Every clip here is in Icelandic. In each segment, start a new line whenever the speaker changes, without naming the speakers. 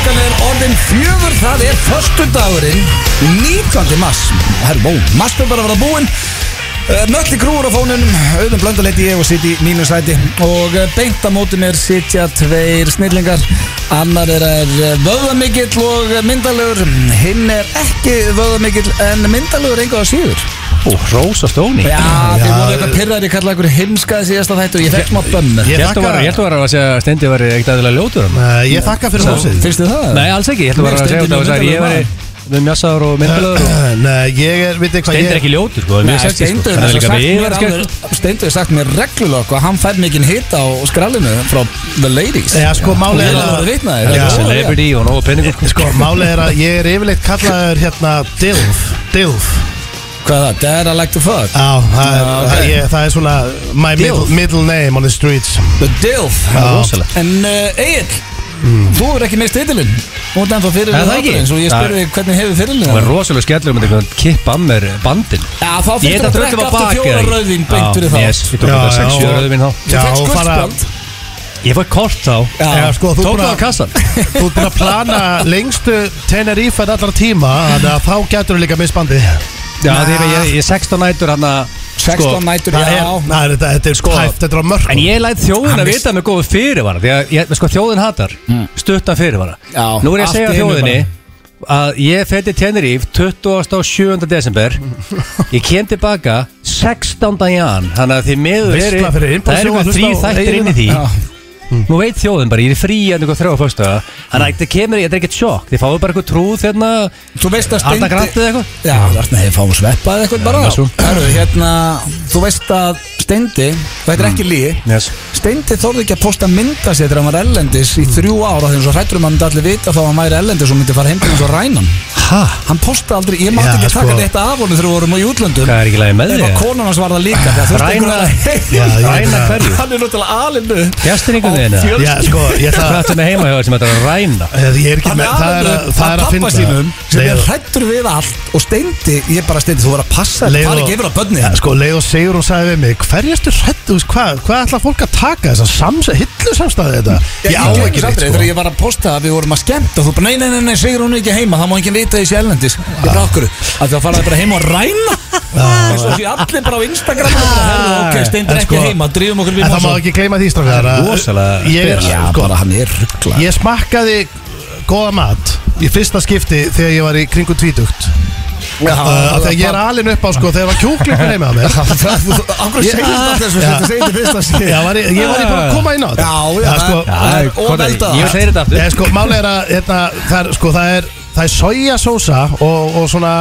klukkan fjögur, það er förstu dagurinn 19. mars Herró, mars er bara að vera búinn Eh, Nölli grúur á fónunum, auðum blönduleiti ég og sitt í mínu sæti og eh, beint á móti mér sitja tveir snillingar annar er, er vöðamikill og myndalegur hinn er ekki vöðamikill en myndalegur enga á síður
Ó, Rósa Stóni
Já, þið
Já,
voru eitthvað pyrraðir, ég kallaði eitthvað heimskaði síðasta þættu og ég fekk smá bömmur
Ég
Ég held að
þakka-
vera- ég held að vera að segja að Stendi var ekkert aðeins ljótur hann
Nei, Ég þakka fyrir hósið
Finnst þið það?
Nei, alls ekki, ég held að vera
Nei,
að segja
Steindi
út af þess að
mjög
ég
myndarlegur
væri með mjassaður og myndalögur og
Nei, ég er, veit ekki hvað
Steindi
ég
er ekki ljótur, sko, það er
Nei,
mjög sexy, sko.
Steindur
Hann er
hefur
líka
sagt
við,
mér
sko.
alveg- Steindur hefur sagt mér reglulega okkur að hann fær mikinn hita á skrallinu frá The Ladies
Já, sko, málið er
Lilla voru
að
vitnaðir
Líka
Já,
celebrity og nógu penningur
Sko, málið er að ég er yfirleitt kallaður hérna Dilf, Dilf
já. Hvað er það? Dare I like to fuck
Já, það er,
Já, ok.
það, ég, það er svona my middle,
Dilf.
middle name on the streets
The Dilf
Já.
Rósalegt
En uh, Egil Þú er ekki með stililinn Þú er ennþá fyrir
Mm. Er það ekki?
Svo ég spurði hvernig hefur
Það var
fyrirlinn
rosalega skellur með einhvern kippa af mér bandin
Já, þá
Ég
fyrir
held
að
að
drekka
dröndum að
aftur
baka
fjóra rauðin beint fyrir þá
Yes, ég tók þetta 6-7 rauðin þá
Þú
Já,
fekst
og fara-
guldspjald
Ég fór kort þá
Já,
Já,
sko, þú
Tók
búin
það á
að-
kassan
þú ert búin að plana lengstu Tenerife en allra tíma Þannig að þá getur þú líka misbandi
Já, því að ég- ég er 16 nætur hann að sko,
16 nætur,
Það er,
já
það er, þetta- þetta er sko hæft, þetta er á mörg
En ég læt
Hann
þjóðin að
er-
vita með góðu fyrirvara Því að ég, sko, þjóðin hatar Stuttan fyrirvara
Já,
Nú er ég að
allt
segja
í einu
þjóðinni Að ég fætti Tenerife 27. desember Ég kem tilbaka 16. jan Þannig að því miður er
Veistla fyrir innbúið
Það er
þjóð að
eitthvað
hlusta
þrý
á
þættir
eigin-
inn í því
Já.
Nú veit þjóðin bara, ég er frí en eitthvað þrjá fyrstu Þannig
Mm.
að það kemur, þetta er ekkert sjokk Þið fáið bara eitthvað trúð þérna
Þú veist að
Arna
Steindi
Grantið eitthvað
Já, þarna hefur fáum sveppað eitthvað bara
maður svo.
Herru, hérna, þú veist að Steindi, þetta er ekki líi
yes.
Steindi þorði ekki að posta mynda sér þegar hann var ellendis í þrjú ára þegar svo hrættur um að hann myndi allir vita þá að hann væri ellendis og myndi fara heim til hans og ræna hann
Ha?
Hann postaði aldrei, ég mátti
Já,
ekki taka
sko.
þetta af honum þegar við vorum á Jútlöndum
Hvað er ekki lagi með
Ef að
þig?
konan hans var það líka þegar þurfti
Ræna-
einhver
Já,
að-
ég-
Ræna hverju?
Hann er náttúrulega alinu
Gestin einhvern veginn, eða?
Já, sko, ég
Hvað
það
ertu með heima hjá þér sem þetta er að ræna?
Ég er ekki
Hann
með,
er
það er að,
alveg
það er
að
að finna
pappa sínum sem er
Leið-
hrættur við allt og steindi, ég bara steindi, þú verður að passa þér,
Leið
það er
og-
ekki yfir á börni
Ja, sko, leið og segur og sagði við mig Hverjastu hrætt, þú veist, hvað Hvað ætla fólk að taka þess að hillu samstæði þetta? Ég á
gleymi
ekki
samt því,
neitt, sko
Þegar ég var að posta að við vorum að skemmta Þú bara, nei, nei, nei, nei, segir hún er ekki heima Það má enginn vita þessi ellendis Ég bara okkur að það faraði bara heima og ræna Eins og því allir bara á Instagram og bara, herðu, Ok,
En
steindir ekki
sko-
heima, drýfum okkur
En
við
það má ekki gleyma því strafgar
Rosalega
Ég er,
Já,
sko,
bara hann er ruggla
ég smakkaði góða mat Í fyrsta skipti þegar ég var í kringum tvítugt
Já,
Uh, af því að ég er alveg upp á sko þegar var kjúklingur heima á mér
Akkur
Ég-
segir þetta þessu,
Já.
þetta segir þetta fyrst að
Já,
segja
var ég, ég var ég bara að koma inn á þetta
Já, já,
sko,
já, Það er óveldað.
Ég segir þetta aftur
Nei, sko, máli er að hérna, það, er, sko, það er það er sojasósa og, og svona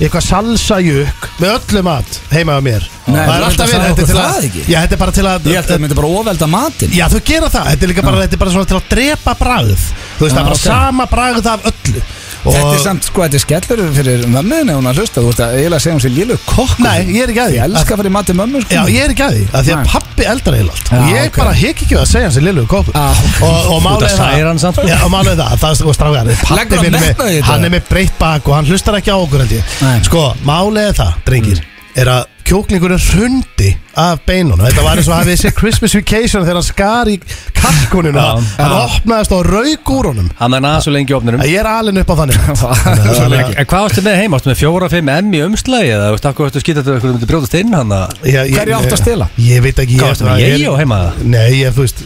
eitthvað salsajukk með öllu mat heima á mér
Nei, þú
það er
ert að
alltaf
segja
verið þetta er
okkur
til
það
að
ekki?
já, þetta er bara til að
Ég held að það myndi bara óvelda matinn
já, þau gera það þetta er líka bara, þetta er bara svona til að drepa bragð þú veist,
Já,
það er bara
ok.
sama bragð af öllu og,
Þetta er samt, sko, þetta er skellur fyrir mömmuðin ef hún er að hlusta, þú ert að eiginlega segja um hún sér lélu kokk
Nei, ég er ekki að því.
Ég elska að fara í mati mömmu, sko
Já, ég er ekki að því, af því að
Nei.
pappi eldar eiginlega allt
Já,
Ég
ok.
bara hek ekki við að segja hans í lillu kóku
Já.
Og, og
Út að
málið er
særa hann samt, sko.
Já, og málið er það, það er sko strágar
Leggur
Pappi
hann
minn er
metnað í
með,
þetta?
hann er með breytt bak og hann hlustar ekki á okkur held ég
Nei.
Sko, málið er það, drengir
Mm.
Er að kjóklingurinn hrundi af beinunum Þetta var eins og hafið sér Christmas Vacation Þegar hann skar í kalkunina
Já.
Hann opnaðist á rauk úr honum
Hann er naða svo lengi í opnurum
Ég er alinn upp á þannig
En
Þannig að-
en hvað varstu með heima? Varstu með fjóra, fimm M í umslagi eða veist, akkur varstu skýtað til að hverju myndi brjóðast inn hann að
Ég- ég-
Hverju áttu að stela?
Ég veit ekki ég-
Hvað varstu með
ég-
ég á heima það?
Nei, ég, þú veist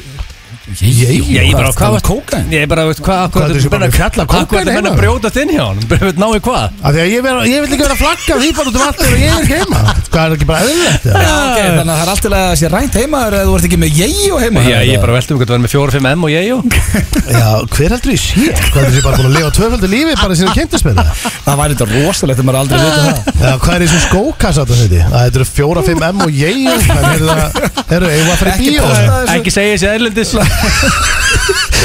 Ég,
Já, ég bara,
hvað
hvað
var kókain?
Ég bara, veist, hvað,
Hvað
akkur
er þessi bara með fjalla
Akkur
kókaín
varstu menn
heima?
að brjóðast inn hjá hann? Brjóðast náðu hvað?
Af því að ég, vera, ég vil ekki vera að flagga því bara út um allt þegar ég er ekki heima Hvað er ekki bara eðlilegt? eða?
Já, ok, þannig
Ah.
að það er alltaf að það sé rænt heima eða þú ert ekki með ég og heima
Já, ég bara veltum hvað það var með fjóra, fimm M og ég og
Já, hver heldur ég sé? Hvað er því bara búin að lifa tvöföldu lífi bara sinni kynntist með það?
Það væri þetta rosalegt þegar maður aldrei vita það
Já, hvað er því sem skókassa þetta heiti? Að þetta eru fjóra, fimm M og ég Þannig eru það, eru, eigum við að fara í
Ekki
bíó
posta þessu.
Ekki segja þessi erlendis Það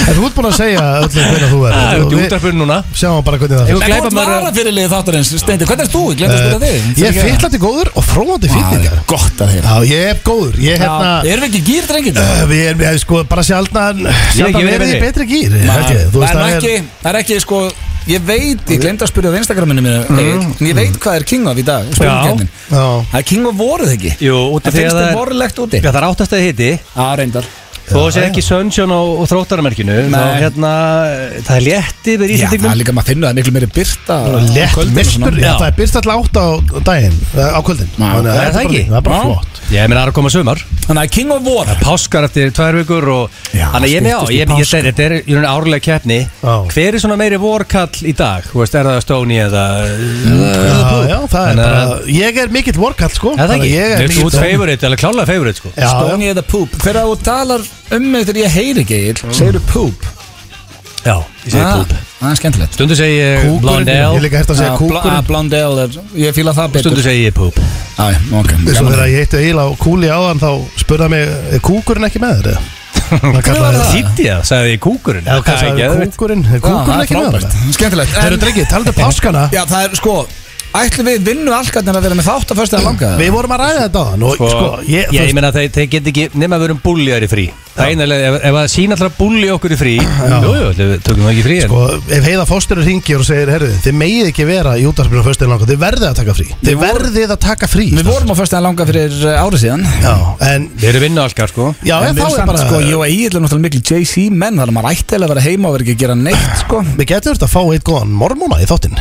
En þú ert búin að segja öllum hvernig þú er
er út í
Við
útarpunum núna
Sjáum bara hvernig það
Jú.
fyrir
En hvað
Glæpamaður-
var að fyrirlið þáttarins, Steindi? Hvernig er þú? Ég glemt að spila þig
Ég er fyllandi góður og fróðandi fyllningar
Gott að þér
Já, ég er góður Ég er hérna
Erum við ekki gýr, drengir?
Við erum við erum sko bara sjaldan Sjaldan
verið
verið í
betri.
betri gýr held ég. Þú
Það
veist,
er nú ekki, það er ekki, sko Ég veit, ég glemt að spyrja á Instagraminu mínu Egill, En ég veit hvað er King of í dag spurningakeppnin.
Já
Það er King of voruð ekki
Jú, út
Það
af því
finnst
að
þið
það er
vorulegt úti
Já, það er áttast að hitti
Já, reyndar
Já,
Og þessi ekki Sunshine og, og þróttaramerkinu Þá
Nei.
hérna, það er létti við
Já, það
Íslandingum
er líka maður að finna það er miklu meiri byrta á
Lett
kvöldin og svona.
mistur,
Já.
það er byrst alltaf átt á daginn, eh, á kvöldin
Já.
Þannig að
Er það
bara-
ekki?
Það er bara
Já.
flott
Ég meina það er að koma sumar
Þannig að King of War
Páskar eftir tvær vikur og
Já,
Þannig að ég með á,
styttist í
ég, ég,
páska.
þetta er- þetta er í rauninni árlega keppni
Já.
Hver er svona meiri vorkall í dag? Þú veist, er það Stóni eða
Já, já, það er
Þannig
bara,
að-
ég er mikill vorkall sko
Er það
Þannig
ekki?
að Ég
Þú
er
ert
mikill
favorite, alveg klálega favorite sko
Já, já.
Stóni eða Poop Þegar þú talar um mig þegar ég heyri ekki mm. segirðu Poop
Já, ég segi
Ah,
púp
Það er skemmtilegt
Stundu segi ég
Kúkurinn, ég
Blondell
líka hægt að segja
Ah, bl- ah,
kúkurinn
Blondell er, Ég fíla það
Stundu
betur
segi ég púp
Æ, ok
Svo
gaman.
þegar ég heitti Egil á kúli áðan þá spurða mig, er kúkurinn ekki með þér? Hvað
var það?
Þýtti það, sagði ég kúkurinn
Já, hvað
Það er
sagði
geðveikt.
kúkurinn?
Já,
Er
Ah, það
kúkurinn
er
ekki með
frábært.
þér?
Skemmtilegt
Þeir eru
En-
drengið, talaðu um páskana
Já, það er sko Ætlum við vinnu allkarnir að vera með þátt að fyrsta að langa
Við vorum að ræða þetta á hann og
Sko,
sko, ég,
ég,
þú
ég
veist,
meina þeir, þeir get ekki nema að vera um búljar í frí Það eina leið, ef, ef að sína alltaf búlja okkur í frí Jú, jú, við tökum það ekki í frí en-
sko, ef heiða fósturur ringir og segir, herðu, þið megið ekki vera í útarpinu á föstudaginn langa, þið verðið að taka frí
Við
Þið
vorum-
verðið að taka frí sko.
Við vorum á fyrsta að langa fyrir eh, ári síðan
Já, en,
Þeir eru vinna allkar sko
já,
En
en
við
þá
erum
er
samt,
bara
sko, ég og Egil er náttúrulega miklu JC menn Þannig að maður ætti eiginlega að vera heima og vera ekki að gera neitt, sko
Við getum þetta að fá eitt góðan mormóna í þáttinn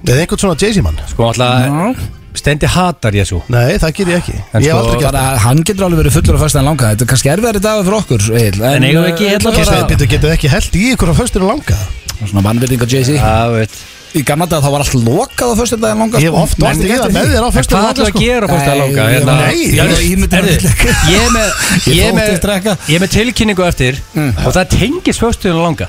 Eða einhvern svona Jay-Z mann
Sko alltaf Stendi hatar Jésu
Nei, það ger ég ekki
En
Ég hef
sko,
aldrei gert
Þannig að hann getur alveg verið fullur á fyrsta að langa Þetta er kannski erfiðari dagur fyrir okkur, Egil
En eigum við ekki
eh,
hérna
bara-
bara- Sko,
það Býttu getið ekki held í ykkur á föstunum langa
Svona vannvirðing á Jay-Z
Það veit
Í gamla dag þá var allt lokað á sko. fyrsta daginn langa
Ég hef oft oft í það með þér á
En hvað ætlum
föstunum langa
við að
sko.
gera fórst að
Nei,
langa?
ég-
Hérna,
nei,
Já,
ég- ég myndi
heyrðu,
ekki leika.
ég er með Ég er
þóttist
með,
drekka. Mm.
ég er með tilkynningu eftir Og það tengist föstuðun langa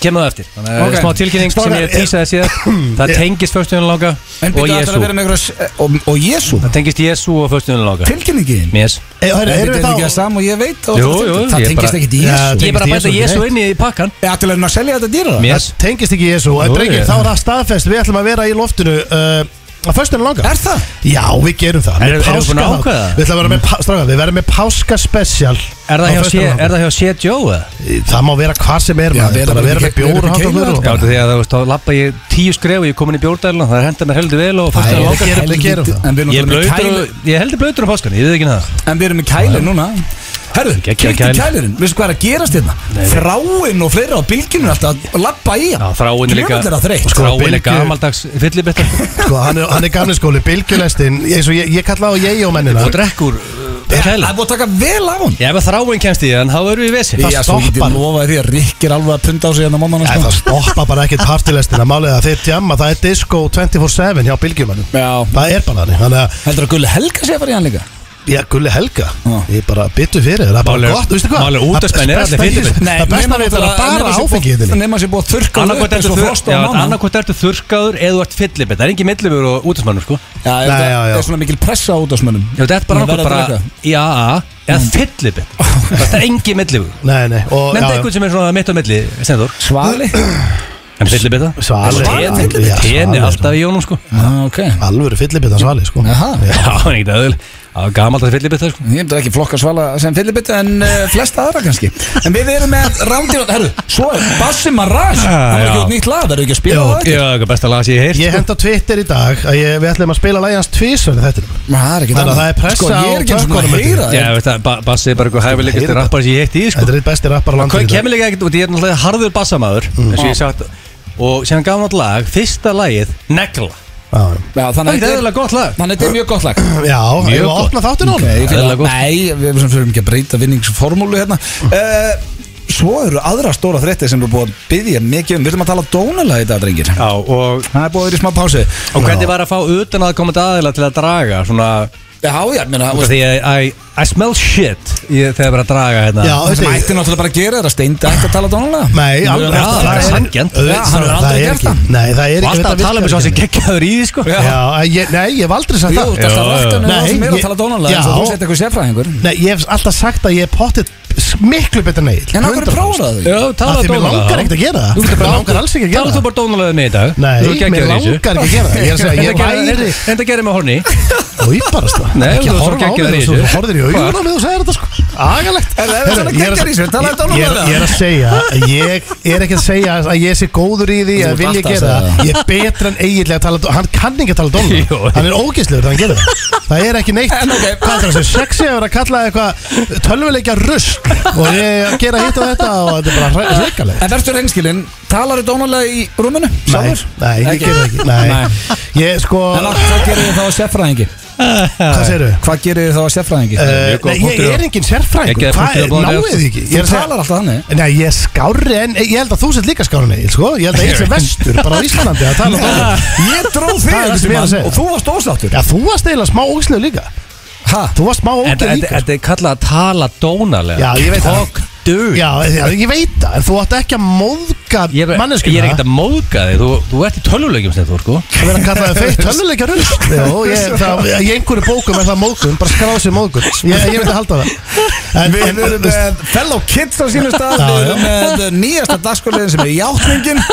Kemur það eftir Þannig að
Ok.
Smá tilkynning sem
Strákar,
ég tísaði síðan Það tengist föstuðun langa
En
Og
býttu alltaf
Jésu
að vera með einhverja Og, og Jésu
Það tengist Jésu og föstuðun langa
Tilkynningin
Mér
Ey,
Er
herri, Eh, Erum
þetta
við
ekki að
þá
sam og ég veit og
Jú,
það-
jú,
Það
ég
tengist
bara-
ekki í
Já,
Jésu
Ég er bara að
Tengist
bæta
Jesú
Jésu
ekki
inn í pakkan
Já, til að hérna að selja þetta dýra
Mér
Það tengist ekki Jésu En
Jú,
drengir,
ég-
þá er það staðfest Við ætlum að vera í loftinu uh, á föstunum langa
Er það?
Já, við gerum það
Er- erum
Með
við búin að
páskaþátt.
ákveða það?
Við ætlum að vera með, pá- strákar, við verðum með páska special
Er það hjá sé- er það hjá Sé Joe eða?
Það má vera hvað sem er
Já,
maður.
við erum
Bara
ekki-
vera með
við erum
bjór og
ekki
hátt og
keilaðir.
glöru
Já, því að þú veist, þá lappa ég tíu skref og ég er komin í bjórdæluna, það henda mér heldur vel og fyrst
Æ,
að
við
langa.
gerum- við gerum það.
En við erum
Ég er
náttúrulega með
blautur
kæli
og, ég er heldur blöytur á páskan, ég veit ekki það.
En við erum með kæli núna Herðu,
Geggjaður
kýtti
kælir.
kælirinn Veistu hvað er að gerast hérna? Þráinn og fleira á bylginu alltaf að labba í hann
Já, þráin er líka, Sko,
Djöfull er það þreytt
þráin er
Bylgju-
gamaldags fyllibittar
Sko, hann er, hann er gamli skóli, bylgjulestin Ég, ég, ég kalla á ég og mennina
og drekkur
Já,
uh,
Það
kæla.
er búið að taka vel á hann
Já, ef að þráin kemst í þann, þá erum við í vesi.
Það
Já, svo ég
stoppar.
geti lofaði því að Rikk er alveg að punda á sig hérna mómann
Æ, það stoppa bara ekkert partilestina Málið að þeir tjamma, það er disco 24-7 hjá bylgjumannum
Já
Það er bara þannig Þannig að,
Heldur að Gulli Helga sé að fara í hann líka?
já, Gulli Helga
Já.
Ég bara byttu fyrir, þér, það er bara
Málið-
gott, veistu hvað
málið útvarpsmenn eru allir
Það besta
fyndnir.
í- það besta við þetta er að bara áfengi í þinni
Nefnum að sé búið að þurrka hann upp
Annarkvæmt
eins
ertu,
og
þur,
frost á
já,
mánan
annarkvæmt ertu þurrkaður eða þú ert fyllibittar. Það er engin millibur og útismannur, sko.
Já,
Nei,
það
já, já.
er svona mikil pressa út á smönnum
Já, þetta er bara annarkvæmt bara í AA eða fyllibittar. Það er engin millibur.
Nei, nei, og
Nefnda einhvern sem er svona mitt á milli, Stenþór.
Svali
En fyllibittar?
Svali
Svali,
Svali, já,
Tén er
Svali,
alltaf í jónum, sko.
Já, ok
sko. Alvöru fyllibita svali, sko
Jaha.
Já.
Já, það er ekkert aðeins. Það var gamaldags fyllibittar, sko.
Ég myndi ekki flokka svala sem fyllibitt en uh, flesta aðra kannski En við erum með rándir Herru, svo er Bassi Maraj Það var
já.
ekki út nýtt lag, verður ekki að spila
Jú,
það ekki?
Já, það er besta lag sem ég sko. heilt.
Ég hend á Twitter í dag að ég, við ætlum að spila lægi hans tvísverði þetta
Það er ekki
Þannig að það er pressa
Sko, ég
á
er ekki eins og búin að
tökkunum,
heyra
Já, veist það, ba- Bassi er bara eitthvað hæfilegast
Heyrðu þetta.
rappar sem ég heitt í, sko.
Þetta er Mm. eitt besti rappar á
Hvað
landinu í dag.
kemur líka ekkert út, ég er náttúrulega harður bassamæður eins og ég sagt og sem gaf nátt lag, fyrsta lagið Negla,
Já,
Já,
það er
þannig
ekki
að
eðlilega gott lag
Þannig að þetta er mjög gott lag
Já,
Mjög
ég var að
gott.
opna þáttin á
Ok, ég fíla
Eðlilega
það.
gott.
Nei, við erum sem fyrir ekki að breyta vinningsformúlu hérna
Hm.
uh, Svo eru aðra stóra þrettir sem eru búið að byggja mikið um Við viljum að tala dónalega í dag, drengir
Já, og,
Það er búið að vera í smá pási
og hvernig var að fá utan að koma aðila til að draga svona,
Já, já, ég meina, þú
út af
veist,
því að I, I smell shit ég, þegar bara að draga hérna
Já,
það sem
veistu,
ætti náttúrulega bara að gera er að steinda ætti að tala dónalega
Nei,
Við
alveg
verðum alltaf að
það
draga.
er sanngjarnt.
Já, hann hefur aldrei gert það.
Nei, það er
og
ekki
alltaf að
þetta
tala með
virkar
svo
ekki
sem geggjaður í því sko
Já.
Já, ég, nei, ég hef aldrei sagt
Jú,
það
þetta er alltaf
Já, já.
rættan eða
Nei,
um sem er að
ég-
tala dónalega eins
Já.
og þú sett eitthvað sérfræðingur
Nei, ég hef alltaf sagt að ég er pottið miklu betur neil
En af hverju prófaðu það
Já,
ekki?
tala
Af því mér
dónalega.
langar ekkert að gera það.
Þú getur bara-
Mér langar alls ekki að gera
Tala
það.
þú bara dónalega með í dag
Nei,
Þú ert
mér
geggjaður í þessu.
langar ekki að gera það Ég er að segja, ég
Enda gerði-
væri
Enda gerði með horni
Þú íbarast það
Nei,
Ekki
þú
að
ert svo
horfa á
geggjaður
mig
í
Þú
þessu.
horfir í augun á mig og segir þetta sko agalegt
Er það- er það svona
Ég er að-
kekkjar í þessu? Talaðu þetta
ég- ég-
alvarlega.
Ég er að segja, að ég er ekki að segja að ég sé góður í því
Þú
að
ert
vil ég
alltaf að
gera
segja
það Ég er betra en eiginlega að tala Hann kann ekki að tala
Jú.
dólar Hann er ógeðslegur þegar hann gerir það Það er ekki neitt
En ok.
Hvað er það að segja? Sexy að vera að kalla eitthvað tölvuleikja rusl Og ég er að gera hitt á þetta og þetta er bara hreikalegt
En verður reynskilinn, talar þú dónalega í rúminu?
Nei,
sjálfur?
nei, ég
Ekki?
ger það ekki
Nei.
Nei, ég sko
En að- hvað gerir þið þá að sérfræðingi?
Hvað segirðu?
Hvað gerir þið þá að sérfræðingi?
Uh,
Mjög góð
nei, ég
punktur.
er engin
Geggjaður
sérfræðingur Hvað
punktur að
er,
bláða
náið
þér.
þið ekki? Ég
Þú
er að segja-
talar alltaf þannig
Nei, ég er skárri en Ég held að þú sett líka skárri en Egil, sko Ég held að ég sé vestur, bara á Íslandi að tala um það
Ég dróð þig
Það er
einhvern
það sem ég er að segja.
tímann og þú varst ósáttur
Já, þú varst eiginlega smá ógislega líka
Ha?
Þú varst smá
En
ógislega líka sko.
þetta er kallað að tala dónalega
Já, ég veit það.
Talk dude
Já, já, ég veit það, en þú átt ekki að móðga
Ég er, ég er
manneskjuna
ekkert að móðga þig, þú, þú ert í tölvuleikjum sem þú, sko
að vera að kalla það feitt tölvuleika rull Já, ég, það, í einhverju bókum er það móðgun, bara skráð sér móðgun Ég, ég veit að halda það en,
Við erum með fellow kids á sínum stað
Já,
Við
já.
erum með nýjasta dagskóliðin sem er játningin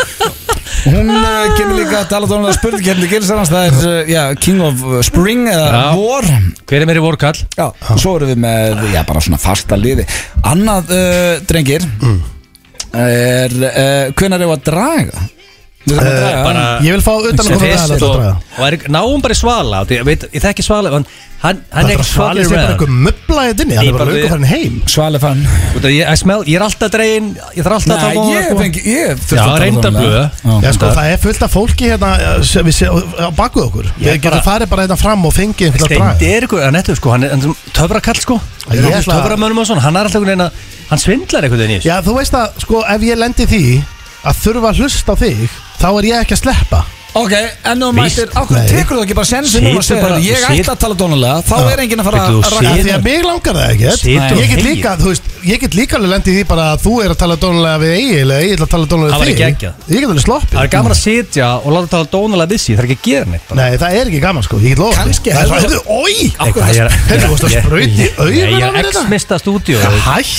Hún uh, kemur líka að tala tónlega spurning kemur gilsarans Það er uh, já, King of Spring eða
Já.
Vor
Hver er mér í vorkall?
Já, svo erum við með já, bara svona fasta liði Annað, uh, drengir er, uh, Hvenær er að draga? Við þurfum að draga
bara-
Ég vil fá utan að
Sem
koma
fyrst
að
og,
draga
og er, náum bara í svala því ég, veit, ég þekki svala hann, hann, hann er
Það er
ekki
að svalið
svalið
sé bara
around
eitthvað möbla í dinni Það
Ég
er bara
bara-
löngu farin heim
Svali fann
Út af ég, I smell, ég er alltaf dregin ég þarf alltaf
Nei,
að
ég fengi, ég þurfti
Já,
að tala
reyndar
tónlega.
blöð.
Já.
Já, sko, það er fullt af fólki hérna eh, sem við sé, á bakuð okkur Við
Ég
getum
bara-
farið bara hérna fram og fengið einhvern að
Steindi
draga
er eitthvað, hann er sko, hann er hann er töfrakall sko
Ég
Hann er
ætla-
töframönnum og svona, hann er alltaf einhvern veginn að hann svindlar einhvern veginn í þessu
Já, þú veist að, sko, ef ég lendi í því að þurfa að hlusta á þig þá er ég ekki að sleppa
Ok, en nú
Víst.
mættir, okkur
Nei.
tekur þú ekki bara sensi núna
Situr
að segja
bara-
bara, ég
sit-
ætla að tala dónulega þá
Já.
er enginn að fara
Veitu,
að
þú situr-
Af
rakka
Því að mig langar það ekki
Situr
Ég get
heim.
líka, þú veist, ég get líka alveg lendi í því bara að þú er að tala dónulega við Egil eða Egil að tala dónulega
Það
við
væri
þig
geggjað.
Ég get alveg sloppið
Það er gaman að sitja og láta tala dónalega vissi, það er ekki að gera neitt bara.
Nei, það er ekki gaman, sko, ég get lofa
Kannski
Það er
hefur-
svona, oi
Eitthvað, ég er-
Heyrðu, þú varst að
ég-
sprauta í augun
Nei, Ég
á mér
er
þetta?
ex-mista stúdíu
Hættu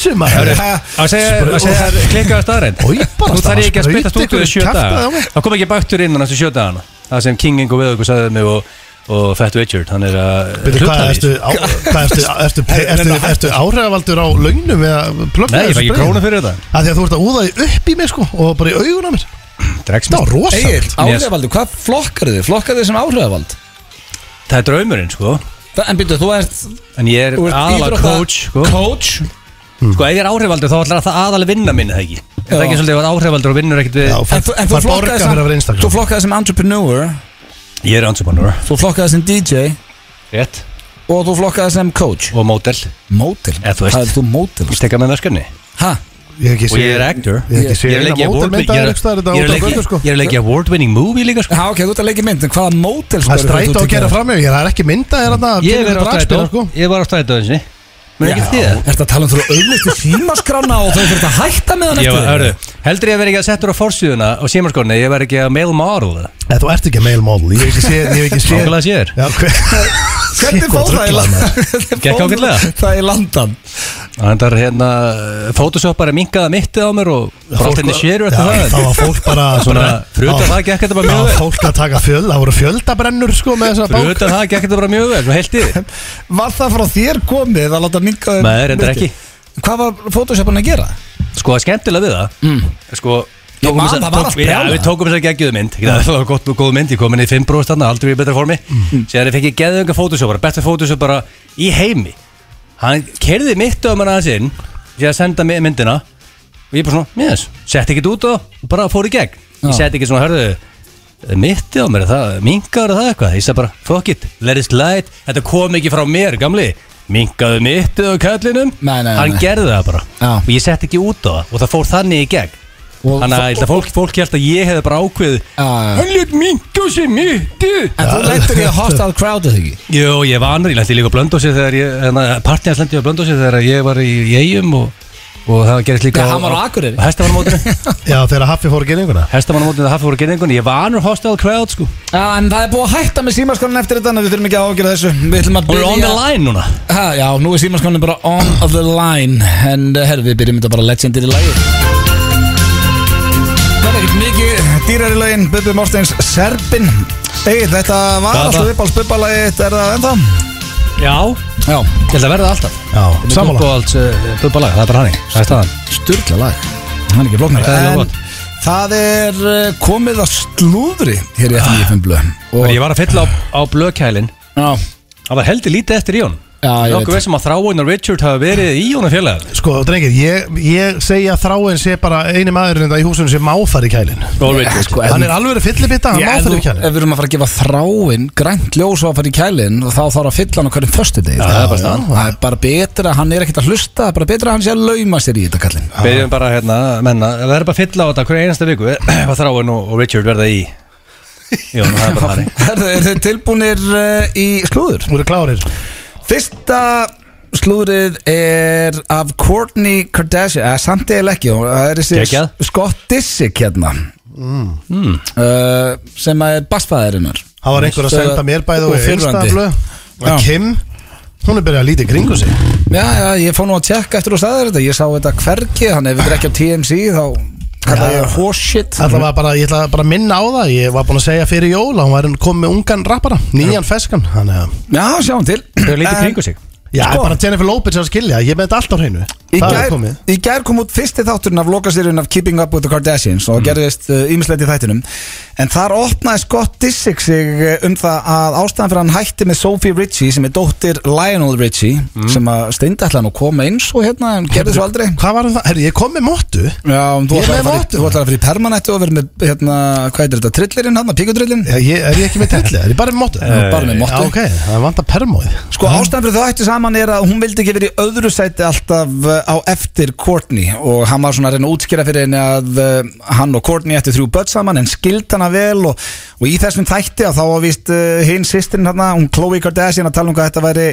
sem að
Að segja, að segja klikkaðu staðrænt
Oj, bara
Þú þarf ekki að
spraut
spytta stúdíu í
ykkur
sjö
kjaftaði á
daga
mig.
Það kom ekki bættur inn á næstu sjö dagana Það sem King Ingo við okkur sagði mig og, og Fat Richard Hann er að
Byrju,
hlutla
hvað,
því.
ertu, á, hvað ertu, ertu, ertu, ertu, ertu áhrifavaldur á laugnum eða plöfnum?
Nei, ég fæ ekki krónu fyrir þetta
Það því að þú ert að úða því upp í mig sko og bara í augun á mér Það var
Dregsmist
Egil,
rosalegt
áhrifavaldi, hvað flokkar þið? Flokkar þið sem áhrifavald?
Það er draumurinn sko
Þa, en byrju, þú ert,
En ég er
þú ert
aðalega
íþrótta-
coach sko.
Coach?
sko, ef ég er áhrifaldur þá ætlar það aðalega vinna minni það ekki
Já.
Er Það er ekki svolítið að vera áhrifaldur og vinnur ekkert við
Já,
En þú, en þú
fær borga
flokkaði
fyrir að vera
sem, þú
einstaklega
flokkaði sem entrepreneur
Ég er entrepreneur
Þú flokkaði sem DJ
Rétt
Og þú flokkaði sem coach
Og mótel Ég
Mótil?
Eh, þú veist.
Hvað er þú mótil?
stekka með verkefni
Ha?
Ég hef ekki
Og ég er actor
Ég hef ekki
Ég er
séð
leikið
eina
award
mótelmyndaðir einhvers staðar þetta út á götu, sko.
Ég er leikið award winning movie líka sko
Ha, ok, þú ert að leika í mynd En hvaða mótil?
Það er stræt á að gera fram yfir, það sko. er ekki hérna mynda þér að
Ég er á strætó Ég var á strætó eins og Mér ekki þið
Er þetta að tala um þú auðvistu símaskrána og þau fyrir að hætta með hann
Ég var,
eftir
hörru, heldur ég að vera ekki að setja á forsíðuna og símarskóni, ég verði ekki að mail model það.
Nei, þú ert ekki að mail model Ég hef ekki séð, ég hef ekki séð
Nákvæmlega sér.
Já, hver-
Hvernig
Sitt
fór það
gott
í
ruglað,
land?
maður.
Hvernig
Gekk
fór
ágætlega.
Það í landan
Þannig að hérna, Photoshop bara minkaði mittið á mér og brottinni sérur
Já,
eftir það.
Það var fólk bara svona
Bara, fyrir utan það gekk þetta bara mjög
Það var
vel.
fólk að taka fjöld, það voru fjöldabrennur sko með þessa
Fyrir
bók
utan það gekk þetta bara mjög vel, nú heilt yfir.
Var það frá þér komið að láta minga þér
Nei, reyndar
mikið? Hvað var Photoshopan að gera?
Sko, það er skemmtilega við það, sko,
Ég man,
þessa-
það Mm. var allt
við- já,
brjálað.
við tókum þess að geggjuðu mynd, ekki, það var gott, góð mynd, ég kom inn í 5 bróðst þarna, aldrei í betra formi, mm. síðan ég fekk ég geðunga fótusjópara, besta fótusjópara í heimi, hann kerði mitt á manna aðeins inn, síðan senda mig myndina og ég bara svona, yes, setti ekkert út á það og bara fór í gegn, ég
Já.
setti ekkert svona, hörðu, mitti á mér, það, minkaður það eitthvað, ég sagði bara, fuck it, let it slide, þetta kom ekki frá mér, gamli, minkaðu mittið á kallinum,
Nei, nei, nei,
hann
nei.
gerði það bara
Já.
og ég sett ekki út á það og það fór þannig í gegn
Og-
þannig að ég held að fólk, fólk held að ég hefði bara ákveð
Já, já.
hann létt minka sér myndi
En þú lættir í að hostile crowd eða ekki?
Jú, ég var annar, ég lendi líka á blöndósi þegar ég partnjans lendi á blöndósi þegar ég var í, í eigum og, og það gerist líka
Nei, hann var á Akureyri.
Hestamannamótinu
Já, þegar Haffi fór að gera einhverja
Hestamannamótinu það hafi voru gerðingun ég var annar hostile crowd sko
Já, en það er búið að hætta með símaskrána eftir þetta en við þurfum ekki að ágjöra þessu Við ætlum að
Hún er
byrja
on the line núna
ha, Já, nú er símaskrána bara on of the line En uh, herru, við byrjum þetta bara legendir í lagi Það er ekkert mikið dýrar í lagin Bubbi Mortens Serbin Egil, þetta var
Hvað var
alltaf
það?
upp á spubbalagið Er það ennþá?
Já, Já, ég held að verða alltaf
Já, sammála.
Búbáhalds eh, bubbalag, það er bara hannig Það er staðan
Sturla lag Hann er ekki flóknar
Það er
En
gott.
það er eh, komið að slúðri Hér í FNF blöð
Þegar ég var að fylla á, á blökælin
Já,
Það var heldur lítið eftir í hún
Já, ég veit.
Nókuð veist sem um að þráin og Richard hafa verið í hún að fjölega
Sko, drengir, ég, ég segja að þráin sé bara eini maðurinn þetta í húsunum sem máfar í kælin
Róð Richard
sko,
Hann er alveg fyllibitta, hann
Já, ef
máfar
þú-
í kælin
Ef við erum að fara að gefa þráinn grænt ljós og að fara í kælinn og þá þarf að fylla hann á hverjum föstu degi
það er bara staðan.
það er bara betra, hann er ekkert að hlusta það er bara betra að hann sé að lauma sér í þetta kallinn
Byrjum bara hérna, menna, það er bara að fylla á þetta hverja einasta viku, eh, hvað þráin og, og Richard verða í Jón, það er bara þannig
Herðu, eru þið tilbúnir uh, í slúður?
Þú eru klárir
Fyrsta slúðrið er af Kourtney Kardashian eða samt eða ekki, hún- það er
Gekkjað.
þessi Scott Disick hérna
Mm.
uh, sem að er basfæðirinnar
Það var einhver að senda mér bæði
og
og
fyrrandi
einstaflu
Já.
Og Kim, hún er byrjað að lítið kringu sig
Já, já, ég fór nú að tjekka eftir og sagði þetta Ég sá þetta hvergi, hann ef þetta er ekki á TMZ þá kalla
Já.
ég horseshit
Alltaf var bara, ég ætla bara að minna á það Ég var búin að segja fyrir jól að Hún var komið með ungan rappara,
Mhm.
nýjan feskan Þannig að
Já, sjáum til
Þau er lítið
En
kringu sig
Já, bara Jennifer Lopez er að skilja, ég með þetta allt á hreinu
Sko- Í
Það er
gær,
komið
í gær kom út fyrsti þátturinn af lokasýrjun af Keeping Up with the Kardashians og gerðist uh, ímislegt í þættinum en þar opnaði Scott Disick sig uh, um það að ástæðan fyrir að hann hætti með Sophie Ritchie sem er dóttir Lionel Ritchie sem að steindi ætla hann að koma eins og hérna en gerði svo aldrei
Hvað var um það? Herri, ég kom með móttu
Já, en þú
Ég er
ætlar
með
að fara í-
vottun.
þú ætlar að fyrir permanentu og verið með hérna, hvað heitir þetta, trillirinn hann, píkutrillin
Er ég ekki með tilli? Er ég bara með móttu?
Já, bara með mottu.
Já, ok, það vantar permóið
Sko ástæðan fyrir þau ættu saman er að hún vildi ekki verið í öðru sæti alltaf uh, á eftir Courtney og hann var svona að reyna að útskýra fyrir henni að uh, hann og Courtney ættu þrjú börn saman en skildi hana vel og, og í þessum þætti að þá var víst uh, hinn sýstirinn hérna, hún Khloe Kardashian að tala um hvað þetta væri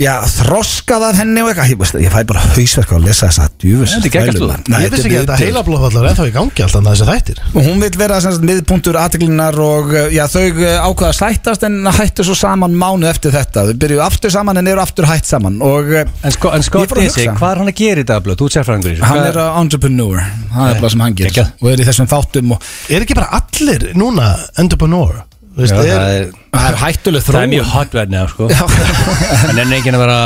já, þroskað af henni og eitthvað ég, veist, ég fæ bara hausverk á að lesa þessa djúfus
Þetta er geggjað slúður.
Nei,
sko. Ég vissi ekki að þetta
viðbjóður.
heila blóðvallar er þá í gangi alltaf þessi þættir
Og hún vil vera sem sagt, miðpunktur aðteglunar og uh, já, þau uh, ákvaða að sættast en hættu svo saman mánu eftir þetta þau byrjuðu aftur saman en eru aftur hætt saman og uh,
En, sko, en
Ég
Scott
fór að
Disick,
hugsa.
hvað er hann að gera í dag blöð? Þú ert sérfræðingur í þessu
hann
Hvað- Eh,
er uh, entrepreneur það er bara sem hann gerir
Geggjað.
og er í þessum þáttum og
Er ekki bara allir núna entrepreneur? Veist,
Já,
Já,
það
er,
er-
það er hættuleg
Það er
þróun
mjög hot right now sko
Já.
En enn enginn að vera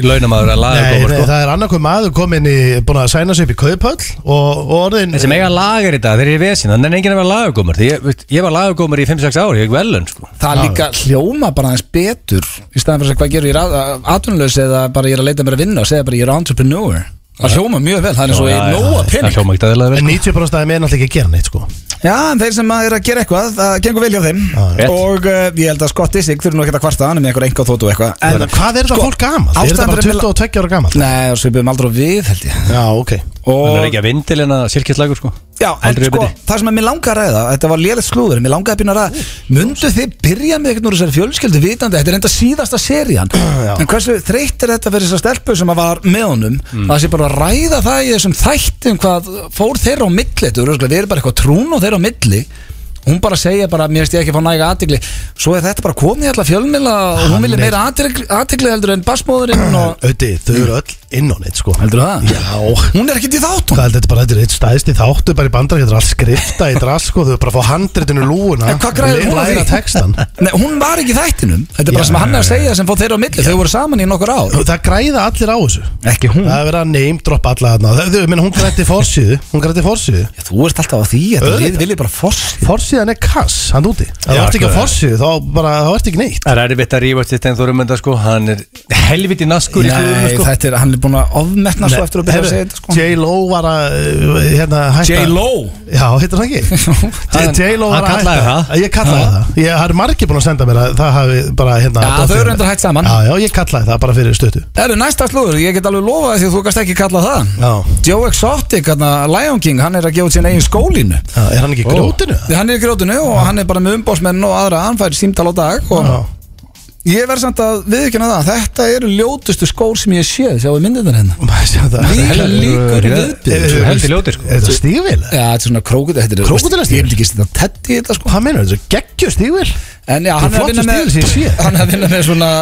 launamaður að laga
nei,
gómar
nei,
sko
það er annarkoð maður komin í búin að sæna sig upp í kauphöll og, og orðin
Þessi mega lagar í dag, þeir eru í vesin Þannig er enginn að vera lagagómar Því ég, veist, ég var lagagómar í 5-6 ári, ég er velun sko
það er líka hljóma bara aðeins betur í staðan fyrir að segja, hvað gerur ég atvinnulegs eða bara ég er að leita mér að vinna og segja bara ég er entrepreneur það hljóma mjóð vel, það er eins og
Já,
ég
já,
nóa
það- Það
pening
hljóma ekki að vera
En 90% af þeim er náttúrulega ekki að gera neitt sko
Já, en þeir sem að eru að gera eitthvað, það gengur vel hjá þeim
Já,
rétt.
Og uh, ég held að Scott Disick fyrir nú ekkert að kvarta hann er með einhver enga þóttu og eitthvað
En
En
hvað er þetta
Sko,
fólk gamalt? Er þetta
ástæðan
bara
fyrir að
22 ára gamalt?
Nei, um og svipum aldrei á við held ég
Já, ok
Það er
Og,
ekki að vindil en að silkislagur sko
já, en
Aldrei
sko,
uppbytti.
það sem að mér langar að ræða Þetta var lélegt slúður, en mér langar að byrja að ræða Mundu þið byrja með eitthvað úr þessari fjölskyldu vitandi Þetta er enda síðasta serían
Já.
En hversu þreytt er þetta fyrir þessar stelpu sem að var með honum
Mm.
að Það sé bara að ræða það í þessum þættum Hvað fór þeirra á milli Þetta eru örugglega- Við erum bara eitthvað trún og þeirra á milli Hún bara segja bara, mér veist ég ekki að fá næga aðtigli Svo er þetta bara komið í alla fjölmila Og hún
Hann
vilja
er-
meira aðtigli heldur en basmóðurinn og...
Öti, þau eru öll inn á neitt sko
Heldurðu það?
Já
Hún er ekki í þáttum
Hvað er þetta bara, þetta er eitt stæðst í þáttu bara í bandar, þetta er allt skrifta í drask og þau eru bara að fá handritinu lúuna
En hvað græðir hún á því?
Læra textan
Nei, hún var ekki í þættinum Þetta er bara
Já,
sem hann er að
já,
segja sem fór þeirra á milli Þau voru saman í nokkur ár
Það græða allir á þessu
Ekki hún
Það er verið að name droppa alla þarna Þau- Þau, menn hún grætti fórsíðu Hún grætti fórsíðu
Þú ert alltaf á því Þetta
Auðvitað.
lið viljið bara fossið
Fórsíðan er kass, hann úti Það
Já,
vart ekki á
sko.
fórsíðu, þá bara, það vart ekki neitt
Það er erfitt að rífast þetta en þorumönda sko Hann er helviti naskur í
Nei,
klúðum sko
þetta er, hann er búin að ofmetna svo eftir að byrja að segja þetta sko
J-Lo var að uh, hérna, hætta Já, heitir hann ekki?
Hann-
J-Lo
hann
var að
kallaði
hætta
það.
Ég kallaði það Ég har margir búin að senda mér að það hafi bara hérna
Já, þau
dottir-
eru endur hægt saman
Já, já, ég kallaði það bara fyrir stuttu
Það eru næsta slúður, ég get alveg lofað því að þú gast ekki kallað það
Já,
Joe Exotic, hann, Lion King, hann er að gefa út sín eigin skólinu
já er hann ekki í
Ó.
grjótinu?
Hann er í grótinu og hann er bara með umbósmenn og aðra Hann fær símtal á dag og
Já,
Ég verð samt að viðkjöna það Þetta eru ljótustu skór sem ég sé Sjáu myndirnar hérna
maður sé það
Líka líkur í
Er-
viðbyrð
Svo
er-
heldur ljótir, sko.
Er þetta stígvél?
Já, þetta er svona krókutu Þetta er
Krókódílastígur?
Ég myndi ekki setja tett í þetta sko
Hvað meinar, þetta er geggjur stígvél?
En já, hann er að
flottur
vinna með
stígur sem ég sé.
Hann er að vinna með svona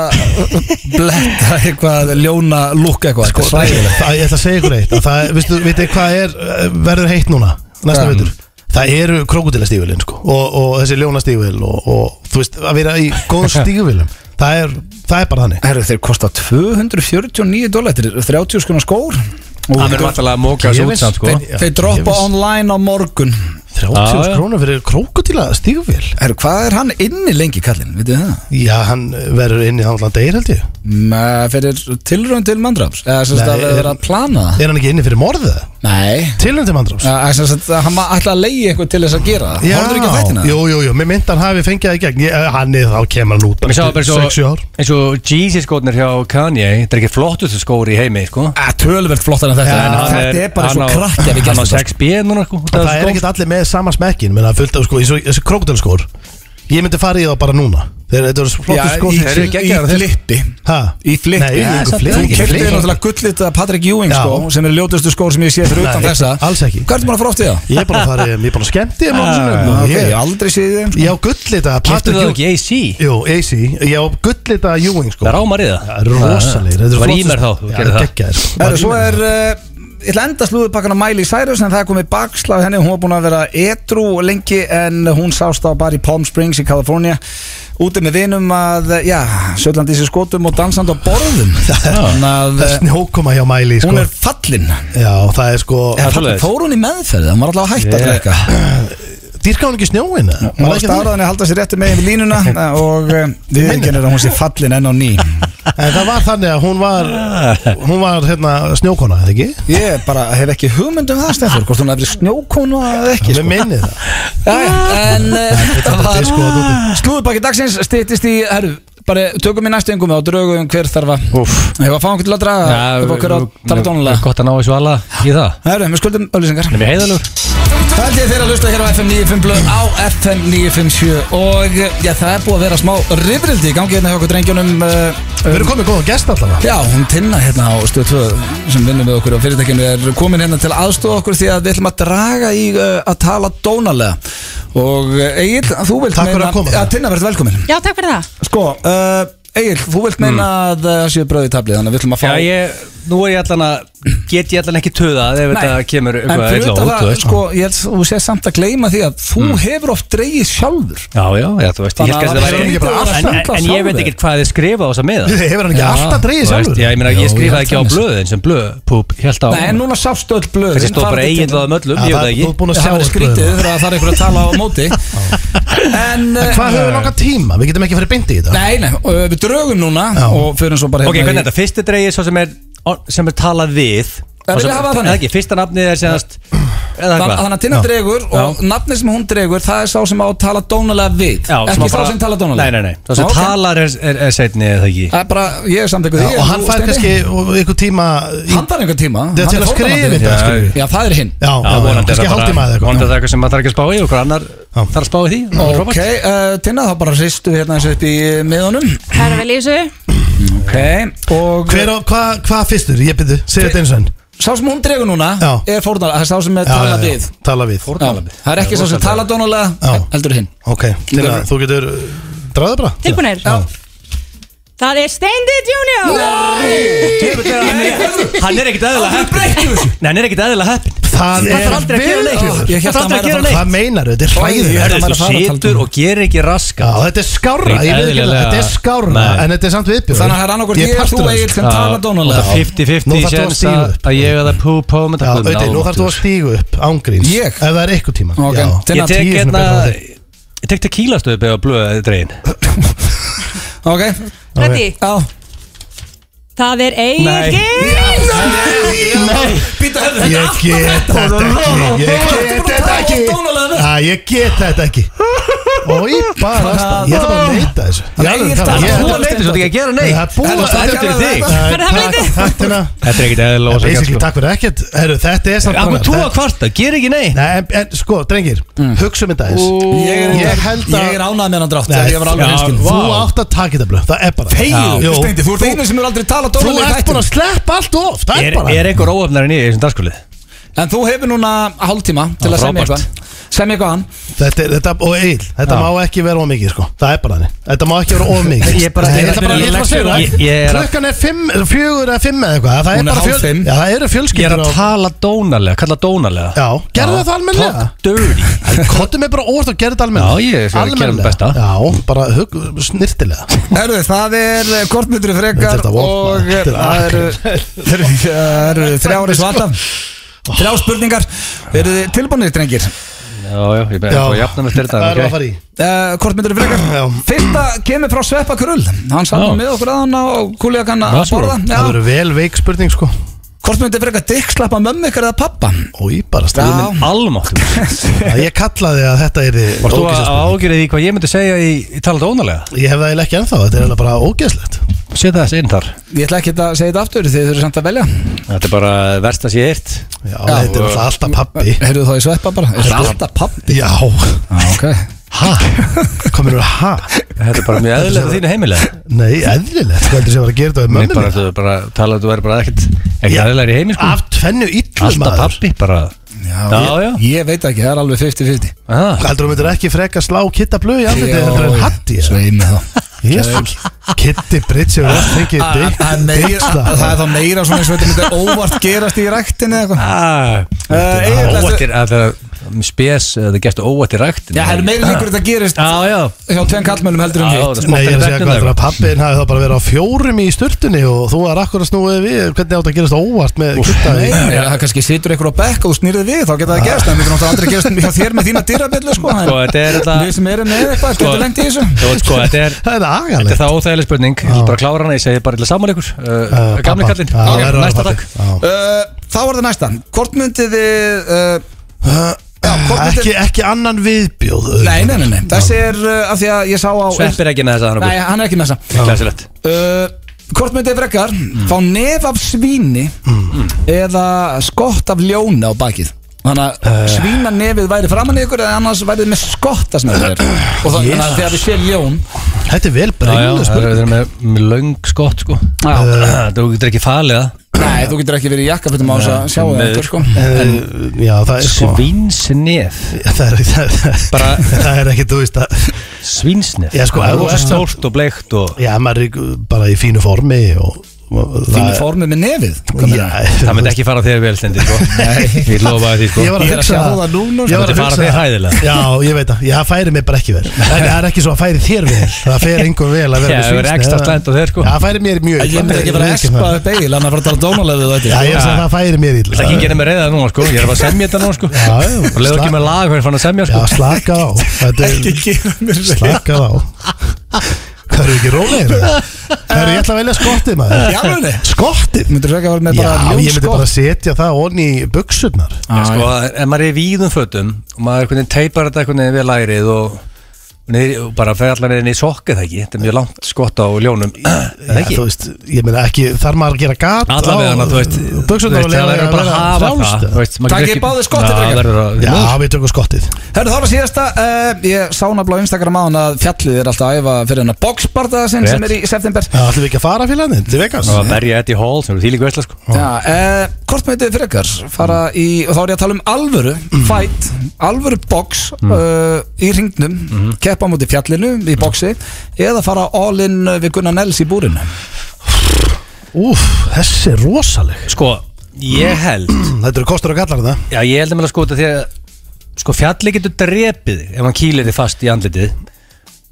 Bletta eitthvað, ljóna lúk eitthvað Sko,
Ræðilegt, ég ætla að segja ykkur eitt að það, veistu, veitu hvað er, eh, verður heitt núna næsta
Hvað?
veitur það eru krókudilastígvélin sko og, og þessi ljónastígvél og, og þú veist, að vera í góðum stígvélum það er, það er bara þannig
Herru, þeir kosta 249 dólar Þetta er 30 skona skór Og
Það er náttúrulega að móka
Ég
þessu
veist,
út samt sko
þeir, þeir droppa
Ég
online á morgun
30
Já, já.
krónur fyrir krókudíla stígvél
Herru, hvað er hann inni lengi kallinn? Vitið þið það?
Já, hann verður inn í þannig að deyr held ég
Mm, eh, Fyrir tilraun til mandraps Eða sem sagt
Nei,
að það er
er-
að plana það
Er hann ekki inni fyrir morðið?
Nei
Tilhengti mandrós
Eða sem sagt að hann ætla að leiði eitthvað til þess að gera það Hóður ekki að þættina?
Jú, jú, jú, mér myndi hann hafi fengið það í gegn ég, eh, Hann er þá kemur hann út
Mér sá það bara
eftir
eins
6-7
og-
ár
eins og Jesus skótnir hjá Kanye Þetta er ekki flottustu skóri í heimi sko
Að tölverð flottar Eh, en þetta
En
en
hann
Þetta er bara
hann
svo
á-
krakkja við
Hann á
gestum
6B núna sko
Það, er ekkert allir með sama smekkin Menna fullt af sko, eins og þessi krókdalskór Ég myndi fara í þá bara núna sko, Þeir eru
Já,
flottu
í,
skór
í, í flitti
Ha?
Í flitti
Nei, sko, í
Þú
einhver flitti.
keftir
Flitti.
náttúrulega gullita Patrick Ewing
Já.
skó sem er ljótustu skór sem ég sé fyrir utan
Nei,
þessa
alls ekki.
Hvað ertu búin að fara oft í það?
Ég er bara að fara, í- ég er bara að skemmti um
Ah, ok, Ég
Ég
hef aldrei séð þeim sko.
ég á gullita
Kæftu
Patrick
það
Ewing-
ekki AC
Jú, AC Ég á gullita Ewing sko
Það rámar í það
Það er rosalegir Þetta
Það
eru
var
flottu-
í mér þá þú
Já,
gerðir það.
geggjaðir, sko.
Herru,
Var í
svo
mér
er uh, Ég ætla að enda slúðupakkan á Miley Cyrus en það er komið bakslag henni, hún var búin að vera etru lengi en hún sást á bara í Palm Springs í Kalifornia úti með vinum að, eh, já, söllandi í sér skotum og dansandi á borðum þannig að
Það er
eh,
snjókoma hjá Miley sko
hún er fallin
Já, það er sko
Já.
Eða
svoleiðis.
fór hún í meðferð, hún var alltaf að hætta að
Ég-
drekka
Dýrka hún ekki snjóin eða?
Hún
Var
var
ekki þannig?
stáraðan að halda sér rétti megin við línuna eh, og eh, við erum að hún sé fallin enn á ný
En það var þannig að hún var
Ah.
Hún var hérna snjókona, eða ekki?
Ég bara hef ekki hugmynd um það stefnur, hvort hún hefði snjókonu eða ekki
Mér minni það
Jæja, En eh, þetta
Þetta er sko að
var
þú-
Slúðubakki dagsins stýttist í Herru, bara tökum í næstu yngum og drögum hver þarf að
Úff.
Hefur að fá einhvern til að draga upp á hver að tala
er
tónulega
Gott að ná þessu alla í það
Herru, við skuldum öllisengar
Mér heiðalur
Haldið þeir að hlusta hér á FM 95 blöð á FM 957 og eh, já, það er búið að vera smá rifrildi í gangi hérna hjá okkur drengjónum uh,
Við erum komið góðan gest allavega
Já, hún Tinna hérna á stöð 2 sem vinnum við okkur á fyrirtækinu er komin hérna til aðstofa okkur því að við ætlum að draga í uh, að tala dónalega og uh, Egil, þú vilt
Takk fyrir að koma.
Já, Tinna verður velkomin
Já, takk fyrir það
Sko, uh, Egil, þú vilt meina
Mm.
að eh, það séu bröði í tablið þannig að við ætlum að fá
Já, ég, nú er ég allan að, get ég allan ekki töðað ef
Nei,
þetta kemur
en
eitthvað
fyrir
illa
utan
út, þú
það,
veist. Mm.
sko, ég held að þú sé samt að gleyma því að þú hefur oft dreigið sjálfur
Já, já, já, þú veist, ég
Þannig að
held kannski að
það
það
hlýtur að vera
væri en, en,
samt að
en ég veit
sjálfur.
ekkert hvað þið skrifað á þess að miða.
Hefur hann ekki
Já,
alltaf dreigið
Þú veist,
sjálfur?
Já, ég meina,
Jú,
ég
ég
skrifaði ekki á
held
blöðin sem blöðpúp, held á.
Nei, en núna sást öll blöð
Þessi stóð bara eiginlega um öllum,
Já,
ég veit það
það- þú ert
ekki.
búin að
Það
sjá
var
öll
skrítið
blöðin.
þegar það er einhver að tala á móti En eh,
Hvað höfum við langan tíma? Við getum ekki farið beint í þetta
Nei, nei, og við drögum núna
Já.
og fyrir svo bara hérna
Ok, hvernig
í-
er þetta? Fyrsti dreigir svo sem er, sem er talað við.
Það
Sá sem-
vilja hafa það þannig.
eða ekki, fyrsta nafnið er senast, eða
Þann-
hvað?
Þannig að Tinna dregur og nafnið sem hún dregur það er sá sem á að tala dónalega við
Já,
Ekki
sem að
sá
bara-
sem tala dónalega
Nei, nei, nei, það sem
Ó, ok.
talar er, er, er setni eða ekki.
Það er bara, ég er samtökuð
Já,
því
Og
en
hann
þú,
fær
Steini,
kannski einhver tíma í-
Hann þarf einhvern tíma
Þetta er
hann
til að skrifa
fórnarlambið.
þetta,
Já,
skilur við.
Já, það er hinn
Já, já,
Já,
já,
vonandi er það
kannski
bara,
hálftíma
vonandi
eða
er
eitthvað
það eitthvað sem maður þarf ekki að spá í og okkur annar
Já.
þarf að spá í því. Það er
Ok,
frábært.
uh, Tinna þá bara hristu hérna eins og upp í miðunum
Það er vel í þessu
Ok, og
Hver á- Hvað hvað fyrstur? Ég byrðu, segðu þetta eins og enn
sá sem hún dregur núna
Já.
er fórnarlega, það er sá sem er tala við Já,
Tala við
Það er ekki sá sem tala dónalega,
Já.
heldur hinn
Ok, Tina, þú getur Dráðu bara
Tilbúinir
Já.
Það er Steindi Junior
Djöfull er hann- Hann er ekkert aðeila heppin Nei, hann er ekkert aðeila heppin Það
Það
þarf aldrei að gera
viðbjóður.
neitt
Ég hélt að
Það þarf aldrei
hann
að
væri að
gera neitt
Hvað meinar þetta er
Ég held að
hræðilegt
maður
Herðu, Þú
að fara að tala
situr
um-
og gerir ekki
Já,
raska
þetta er skárra, ég veit ekki
Eðlilega.
þetta er skárra,
Nei.
en þetta er samt viðbjörn
Þannig að það er annarkvort ég, þú eigir sem tala
Og það
dónalega
er 50-50
Nú þarf þú að
chance
stíga
að
upp.
að ég eða pú pú með
Já,
það Guð,
veitir, nú þarf þú að
náttúr.
stígu upp ángríns
Ég?
Ef það er eitthvað tíma
Ok.
Já,
Tinna,
Ég tek
tíu sinnum
hérna
betra á þig.
Ég tek tequila stöðu beða blöða dregin
Ok,
Ready
já
Það er
Nei.
Egil
Býta höfðu
Ég get þetta ekki Ég get þetta ekki Já, Ég get þetta ekki Og ég bara Ég ætla bara að leita þessu Ég
Nei,
alveg
ég
tala,
ætla-
ég-
þú
Þú leiti svo ekki að gera neitt
Það er búið
Herra,
að-
það er
fyrir þig.
Nei,
Fyrir það
takk-
leiti.
Takk Tina.
Þetta er ekkert eðla og
Basically,
svo
Takk fyrir ekkert Herru, Þetta er samt
Akkur
bara-
tú að kvarta, ger ekki neitt
Nei, en, en sko, drengir, hugsa um þetta eins
Ég er,
Ég held að-
ég er ánað með hann drátt
Nei,
Þegar ég var alveg
já,
hinskinn
Þú
Vá.
átt að taka þetta blöð, það er bara
Þegiðu,
Jú.
Steindi, þú ert einu sem er aldrei talað
Þú
dónalega
ert búin að sleppa allt of Það er
Er
bara
er einhver óöfnarinn í þessum dagskulið?
En þú hefur núna hálftíma til
Já,
að segja mér
frábært.
eitthvað sem ég hann
Þetta, er- þetta, og Egil, þetta
Já.
má ekki vera of mikið sko. Það er bara þannig Þetta má ekki vera of mikið
Ég er bara-
Ég
ég-
ætla bara ég ætla að segja
ég-
það
ég er að-
Klukkan er fimm, er fjögur eða fimm eða eitthvað Það
Hún
er
er
bara
hálf fimm.
Já, það eru
Ég er
fjölskyldur
að
á-
tala dónalega, kalla dónalega
Já, gerðu það almennilega
Talk dirty
Kottum er bara óvart og gerðu
Já,
þetta almennilega
ég er að gera
Almennilega.
mitt besta.
Já, bara hug, snirtilega
Herðu, það er eh, kortmyndri frekar
Þetta er
og
vopna.
eh,
Þetta er
það eru það eru þrjári svarta þrjá spurningar eru þið tilbúinir drengir
Já, já, ég beði að jafna með styrta
það er að fara í
uh, kortmyndri
Já.
frekar fyrsta kemur frá Sveppa Krull hann
Já.
saman með okkur aðan og kúlið að kanna
Það
að
er svo.
Það
borða
verður vel veik spurning sko
kortmyndri frekar dikkslappa mömmu ykkur eða pappa
Ói, bara stæðum
Já.
Almáttum
Já, Ég kallaði að þetta er
Varst þú að ágjörði því hvað ég myndi segja í, í tala dónalega?
Ég hef það eiginlega ekki ennþá, þetta er eiginlega bara ógeðslegt
Setja þess inn þar
ég ætla ekki að segja þetta aftur þið þurfum samt að velja
Þetta er bara versta sér eitt
Já, þetta er náttúrulega alltaf pappi
heyrðu þá í Sveppa bara er þetta alltaf pappa
Já,
ok
ha, komur þú ha
Þetta er bara mjög eðlilega þínu heimilega
Nei, eðlilegt, hvað heldur sem var að gera þetta við
Mér
mömmu
bara,
mína?
þú er bara talað, þú er bara ekkert ekkert
Já.
eðlilega í heimi sko
Af tvennu illum
Alltaf
maður
pappi bara Já, já
ég veit ekki það er alveg 50-50
Ah,
Heldur þú myndir ekki freka slá kitta blöð í andliti Þetta er enn hatt í
Svei mér þá
Jésús Kitti Brits hefur oft fengið
Það
dick-
það er meira-
dickslap.
það er þá meira svona eins og þetta myndi óvart gerast í ræktinni eða eitthvað
Ah,
Eh, Egill,
óvættir að það spes að það gerst óvættir rækt
Já, það er meira líkur þetta gerist
Já, já
hjá tveim kallmönnum heldur en
Já,
hitt
það
Nei, ég er að
Smottar í bekknum
segja
þeirra.
hvað þegar pappiðin hafi þá bara verið á fjórum í sturtunni og þú er akkur að snúið við hvernig átt að gerast óvart með kitta
Nei,
í
nei, það kannski situr einhver á bekk og þú snýrði við þá geta það gerst, það myndir náttúrulega aldrei gerst hjá þér með þína dyrabellu sko en
Sko, þetta er þetta
Við sem erum með eitthvað,
Sko,
getur lengt í þessu
Þú veist, Sko, þetta er
Það er
Þetta
agalegt
er það óþægileg spurning, ég vil bara klára hana, ég segi bara illa saman ykkur uh,
Eh,
Gamli
pappa.
kallinn,
Já,
Ok,
verður að
næsta
vera
takk
pappi. Já.
Uh, Þá er það næsta Hvort myndið þið uh,
Eh,
Já, hvort myndið
ekki, ekki annan viðbjóð
Nei, nei, nei, nei, þessi er uh, af því að ég sá á
Sveppir ekki með þessa hann
Nei, hann er ekki með þessa
Glæsilegt
Uh, Hvort myndið frekar fá nef af svíni eða skott af ljóna á bakið Þannig að svína nefið væri framan í ykkur eða annars væri þið með skott að snöður og þá- þannig
Jesus.
að þegar við séum ljón
Þetta er vel
Já, já,
brenglu
það
spurning
eru með, með löng skott sko
Já.
Þú getur ekki falið það
Nei, þú getur ekki verið í jakkafutum á þess að sjá það
með-
einhver sko
Eh, Já, það er sko
Svínsnef
Það er, það, er-
Bara-
það er ekki, þú veist að
Svínsnef
Já, sko, ef
Það
þú
er
ert-
stórt og bleikt og
Já, maður er í- bara í fínu formi og, og
Þínu formið með nefið hvað
Já,
meinarðu?
Það myndi ekki fara þér vel stendi sko Ég lofa því sko
Ég var að
Ég er að
hugsa
sjá það núna,
Ég
sko.
var að
Þetta fara
hugsa
þér
það.
hæðilega.
Já, ég veit það, Já, það færi mér bara ekki vel En það er ekki svo að færi þér vel Það færi einhver vel að vera
Já,
með
það verður
svínsni,
ekstra
það-
slæmt á þér, sko.
Já, það færi mér mjög
Ég myndi ekki verið að espa upp eigil hann að fara að
um
tala dónalega við
Já,
þetta
ég er að segja
Já.
það færi mér illa
Það er ekki genið með reyða núna sko Ég er bara að semja þetta núna sko
Já, já.
Og leiðu ekki með lag hvernig fann að semja
Já,
sko
slaka á Þetta er-
gera mér
Slaka á Það eru ekki rólegir Það eru ég ætla að velja skottið maður
Já, muni
Skottið?
Myndur þú ekki að vera með
Já,
bara
ég myndi bara
ljónskott
setja það onni í buksurnar
Já, sko, ef maður er í víðum fötum og maður einhvern veginn teipar þetta einhvern veginn við lærið og, niður, og bara fer allan inn í sokkið það ekki, þetta er mjög langt skott á ljónum Það
Já,
ekki
þú veist, ég meina ekki, þarf maður að gera gat
Allavega hana, þú veist
Buksurnar og
Það
leiða
er bara að hafa það þú veist, maður
Takið
getur ekki-
báðir skottið,
Já,
frekar.
verður að-
Já,
Já,
við tökum skottið
Hörru, þá er það síðasta uh, Ég sá nafnilega á Instagram á hann að fjallið er alltaf að æfa fyrir hennar boxbardaða sinn
Rétt.
sem er í september
Það ætlum við ekki að fara fyrir hann til Vegas
og að berja Eddie Hall sem eru þýlíku veistla sko
Já, uh, hvort með þetta frekar fara í, og þá er ég að tala um alvöru fight, alvöru box uh, í ringnum, keppa á móti fjallinu í boxi, eða fara all in eh, við Gunnar Nels í búrinu
Úf, þessi er rosaleg
Sko, ég held
Þetta eru kostur og gallar það
Já, ég held að mér að sko þetta því að sko fjalli getur drepið þig ef hann kýlir þig fast í andlitið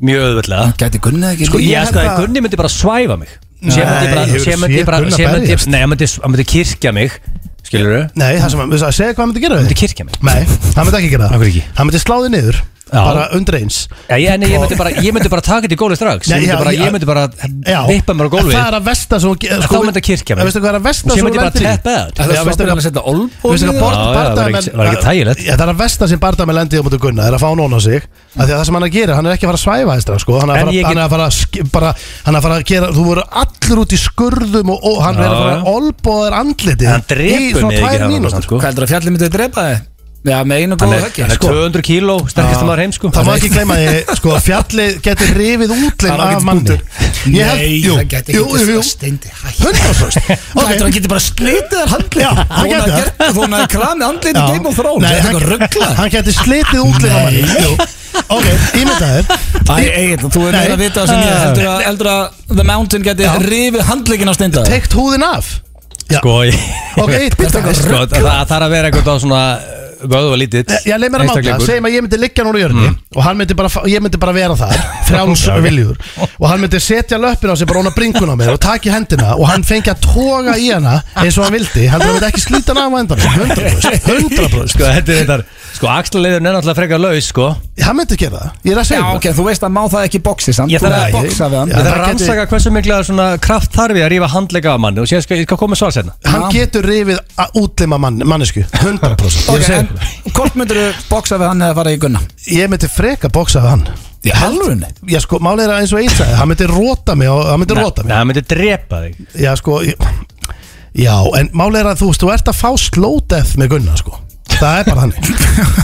mjög öðvöldlega
Gæti Gunni ekki
Sko,
líka?
ég sko,
held að-
Gunni myndi bara svæfa mig Nei,
Nei, hefurðu
sé myndi
séð
bara
Gunnar
sé myndi,
berjast?
Nei, hann myndi, hann myndi kirkja mig Skilur þau?
Nei, það sem að, að segja hvað hann myndi gera
Myndi
við
kirkja mig
Nei, hann myndi ekki gera
Af hverju ekki?
Hann myndi sláði niður,
Já.
bara undir eins
Já, ég, nei, ég, myndi bara, ég myndi bara taka þetta í gólið strax
Nei,
Ég myndi
já,
bara,
já.
ég myndi bara
Já,
vippa mér á
en
gólfið
Það er að vesta svo sko,
þá myndi að kirkja mig.
Veistu hvað er að
Og
vesta
sé
svo
myndi bara teppa það.
Það er
Já,
svo að
veistu
byrja
hvað
að setja
Þú veist
olbúin
ekki að
Já,
bord-
já, það var
bardagamenn-
ekki- það var ekki þægilegt.
Já, Það er að vestan sem bardamenn lendi á móti Gunna Það er að fá nóna sig Af því að það sem hann er að gera, hann er ekki að fara að svæfa þess straf sko. Hann er
En
að fara-
ég
hann
get-
er að fara að sk- bara- Hann er að fara að gera Þú voru allir út í skurðum Og, og hann
Já,
er að fara
já.
að olbóða þér andliti
Hann drepur mig ekki hafa
Í svona
það,
tvær
sko.
mínútur
Hvað heldur að fjallið myndið drepa þið? Já, með einu
Hann
góðu
er,
höggi
hann er
sko.
200 kíló, sterkist maður heim sko
Það má ekki gleyma því, sko, að fjallið getur rifið útlinn
Það var
af
ekkert
manni
bútur.
Ég held-
Nei,
jú,
það gæti
jú,
ekki
jú, jú.
steindi hætt.
100%
Það hættur að geta bara slitið þér handlið
Já, hann gæti það.
Þú hann að kramið handlið í
Já.
Game of Thrones
Nei,
Þetta er
hann-
eitthvað ruggla
Hann getur slitið útlinn á manni Jú. Ok, ímyndaðir
Æ, Egil, þú er
Nei.
meira að vita það sem ég heldur að, heldur að The Mountain geti rifið handlegin á steinda
Tekt húðin af Já.
Sko, ég-
Ok, byrta
Sko,
eitthvað
það það þarf að vera eitthvað á svona vöðu og lítill
Ég leið Eh, mér að máta,
Einstaklingur.
segjum að ég myndi liggja núna í jörni og hann myndi bara, fa- ég myndi bara vera þar frjáls viljur og hann myndi setja löppin á sig bara óna bringuna á mér og taki hendina og hann fengi að toga í hana eins og hann vildi, hann myndi ekki slíta hana á endanum 100% 100%
Sko, þetta er þetta Sko, axlaleiðurinn er náttúrulega frekar laus, sko
hann myndi gera það, ég er að
Já,
segja
ok, þú veist að má það ekki boxi samt
Ég
Þú
þarf
þarf
að-
að boxa við hann
Já,
Það er
það
að
gæti-
rannsaka hversu mikla svona kraft þarf ég að rífa handlega á manni og síðan skal ég skal koma með svar senna
það hann getur rifið að útlima mann, mannesku
Ok,
100% ég, er að segja
en
ykkur.
hvort myndir þú boxa við hann eða fara í gunna?
ég myndi freka bóksa af hann
Í halvunni?
Já sko, málið er að eins og eitt sagði, hann myndi róta mig og hann myndi róta
Nei,
mig
það myndi drepa þig
Já sko, ég- já, en málið er að þú veist, þú ert að fá slow death með Gunnar sko Það er bara þannig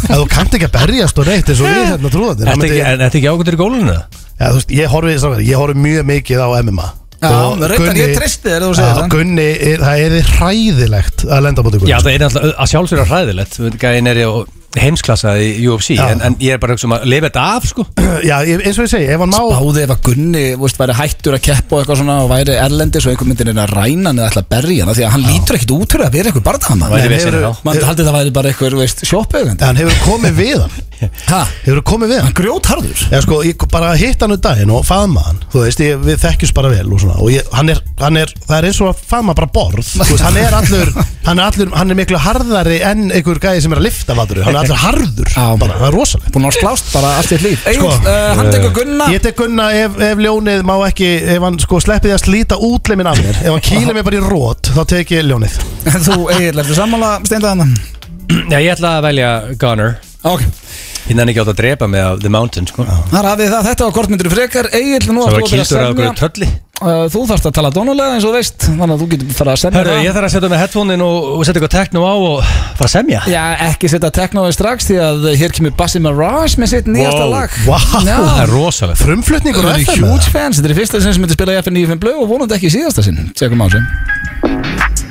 Að þú kannt ekki að berjast og neitt eins og við hérna trúðanir
Ertu ekki- En þetta ekki ákvöndur í gólunum það?
Já, þú veist, ég horfi, strákar, ég horfi mjög mikið á MMA
Já,
Og
reyndar, ég
Gunni-
treysti þér ef þú segir
Já,
það.
Gunni, er, það er hræðilegt að lenda á móti
Já,
Gunni
það er náttúrulega að sjálfsögur hræðilegt Þú veit, Gæinn er í heimsklassa í UFC
Já.
en, en ég er bara að hugsa um að lifa þetta af, sko
Já, ég- eins og ég segi, ef hann má
Báði ef að Gunni, þú veist, væri hættur að keppa og eitthvað svona og væri erlendis og einhver myndir reyna að ræna hann eða ætla að berja hann af því að hann lítur ekkit út fyrir að vera eitthvað barðahama
Væri
Nei,
veseni
hefurðu-
þá.
Maður haldið það væri bara eitthvað, þú veist, sjópauðgandi
En hann hefur komið við hann
Hæ?
Hefur komið við hann
Grjótharður?
Já sko, ég bara hitt hann um daginn og faðma hann Þú veist, ég, við þekkjumst bara vel og svona Og ég, hann, er, hann er, það er eins og að faðma bara borð Þú veist, hann er allur, hann er allur, hann er miklu harðari en einhver gæði sem er að lifta vatur Hann er allur harður,
Já.
bara, það er rosalegt
Búin að slást bara allt þitt líf Egil,
Sko,
eh, hann tekur Gunna
Ég tek gunna ef, ef ljónið má ekki, ef hann sko sleppið að slíta útlimin af mér Ef hann kýlir mig bara í rót, þá tek ég ljónið
Þú Egil, ertu sammála steindaðan?
Já, ég ætla að velja Gunner
Ok,
Hinn er ekki átt að drepa mig af The Mountain, sko Það
þar hafið það Þetta var kortmyndur frekar Egil, nú
var
ætlum við að
kildur af
semja
okkur trölli
Eh, Þú þarfst að tala dónulega eins og þú veist Þannig að þú getur fara að semja
Hörru,
það.
ég þarf að setja með headphone-in og, og setja eitthvað tekno á og fara að semja
Já, ekki setja teknóið strax Því að hér kemur Bassi Mirage með sitt nýjasta
Wow,
lag
wow.
Það
Já,
er rosalegt
Frumflutningur
Við
á
erum
FM eða?
huge fans, þetta er í fyrsta sinn sem myndi spila í FN95 blöð og vonandi ekki í síðasta sinn Tjekum á þessu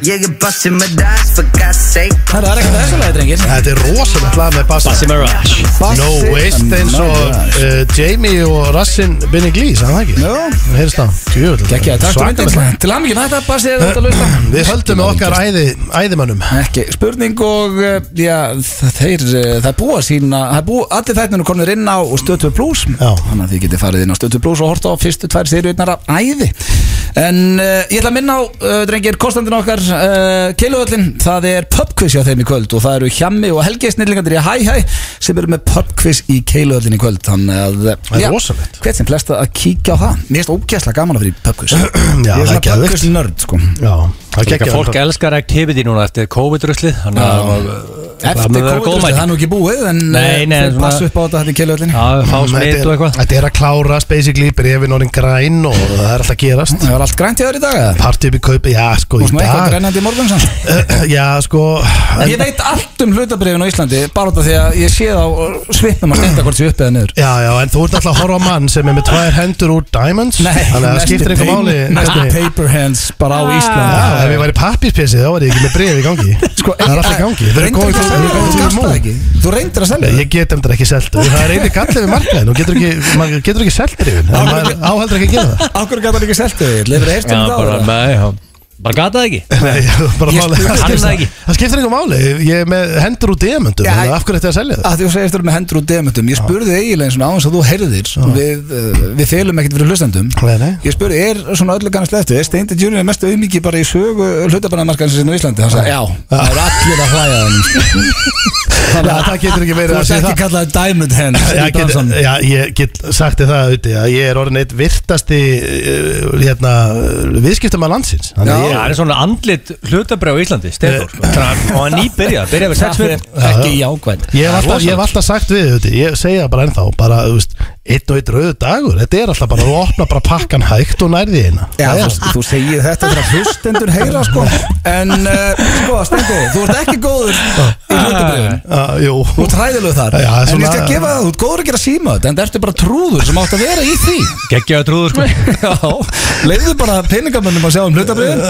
Ég er bustin' my dice for God's sake
Það er ekkert þessu lagi, drengir
Þetta er rosalegt lag með Basta
Bassi Mirage
No waste eins og uh, Jamie og Rassin Binning Lee, sagði það ekki?
Jó.
Það heyrist á, djúvöld
Gekkja, takk fyrir myndin Til hann ekki með þetta, Bassi, er þetta að lusta
Við höldum með okkar æði, æðimönnum
Ekki, spurning og eh, já, þ- þeir, eh, það er búið að sína það er búið, allir þættinu komnir inn á Stötu Plus
Já.
þannig að þið getið farið inn á Stötu Plus og horta á fyrstu tvær sériutnar af æði en uh, ég ætla að minna á uh, drengir kostandin okkar uh, Keiluöllin, það er pubquiz hjá þeim í kvöld og það eru Hjammi og Helgi snillingandir í Hæ Hæ sem eru með pubquiz í Keiluöllin í kvöld þannig að,
Það er rosalegt.
hvert sem flesta að kíkja á það mér erst ógæslega gaman að vera í pubquiz
Já,
ég
það
er
er
svona
geðveikt.
pubquiz nörd sko
Já, það
Líka
gekkja
fólk elskar activity núna eftir COVID-ruslið Þannig að það var-
Eftir
það mun vera
COVID,
góðmæting.
það er nú ekki búið en
Nei, nei,
þau
svona-
passu upp á þetta hérna í keilöðlinni
Já, fá smitt og
Þetta er-
eitthvað
þetta er að klárast basically brefin orðin græn og það er alltaf að gerast
Það var allt grænt í þér í dag eða?
Party upp í kaupi, já sko
Þú
í
veist nú eitthvað
dag
grænandi í morgun sann
Já sko
Ég
en-
veit allt um hlutabrifin á Íslandi bara út af því að ég sé það og svipnum að stenda hvort sé upp eða niður
Já já, en þú ert alltaf að horfa á mann sem er með tvær hendur úr diamonds Þannig að það
næsti
skiptir einhver
paper-
máli
Næsti Ah,
hvernig-
paper hands bara á Íslandi
Já, ef ég væri pappirpessi þá væri ég ekki með bref í gangi Það er alltaf í gangi Það er
Reyndir
góð
Sko, eh, ekki að selja það, þú
það er góð- góð
skapst það
múl.
ekki Þú reyndir að selja
Nei,
það
Ég get endur ekki selt og Það er einu gallið við markaðin og getur ekki, maður getur ekki selt brefin En maður áhaldur ekki að gera það
Akkur gæta líka seltu þig, lefur eitt
Já,
um það
bara,
áður?
nei, já. bara gata það ekki
Nei, bara
Ég
máli
skil-
Það
kann það
skiptir-
ekki.
það skiptir einhver máli Ég er með hendur úr demöndum
Já,
Af
ég-
hverju ætti ég að selja það?
að því þú segist þú eru með hendur úr demutum ég spurði eiginlega eins og á þess að þú heyrðir við, uh, við felum ekkert fyrir hlustendum
Nei, nei.
ég spurði, er svona öllu kannast eftir er Steindi Junior mest auðmikið bara í sögu hlutabarnamarkaðins sinni á Íslandi hann sagði, já, það er allir að sko. hlæja hann þannig
Nei,
að
Það getur ekki verið
þú
að
ert
segja
ekki
það
kallað Diamond Hands
Já,
í
get,
dansanum.
já, ég get sagt þér það auðvitað að ég er orðin eitt virtasti uh, hérna, viðskiptum að landsins Þannig að
Já.
ég-
Það er svona andlit hlutabræð á Íslandi Stefór, sko. Þannig að- og hann nýbyrja Byrja við sex
það er
fyrir
ekki jákvæmt
Ég
Það
hef
er
alltaf,
rosalegt.
ég hef alltaf sagt við þetta, ég segja bara ennþá, bara, þú veist, einn og einn rauðu dagur, þetta er alltaf bara, þú opna bara pakkan hægt og nærði eina.
Já,
Það er
þú, þú segir þetta þegar eh, hlustendur heyra sko En uh, sko, Steindi, þú ert ekki góður í hlutabrifin
Já, Ah, jú
Þú ert hræðilegu þar
Já, það er
En ég
svona-
skal gefa það, þú ert góður að gera síma þetta En það ertu bara trúður sem átt að vera í því
Geggjaðu trúður sko
Já, leiðu bara peningamönnum að sjá um hlutabriðin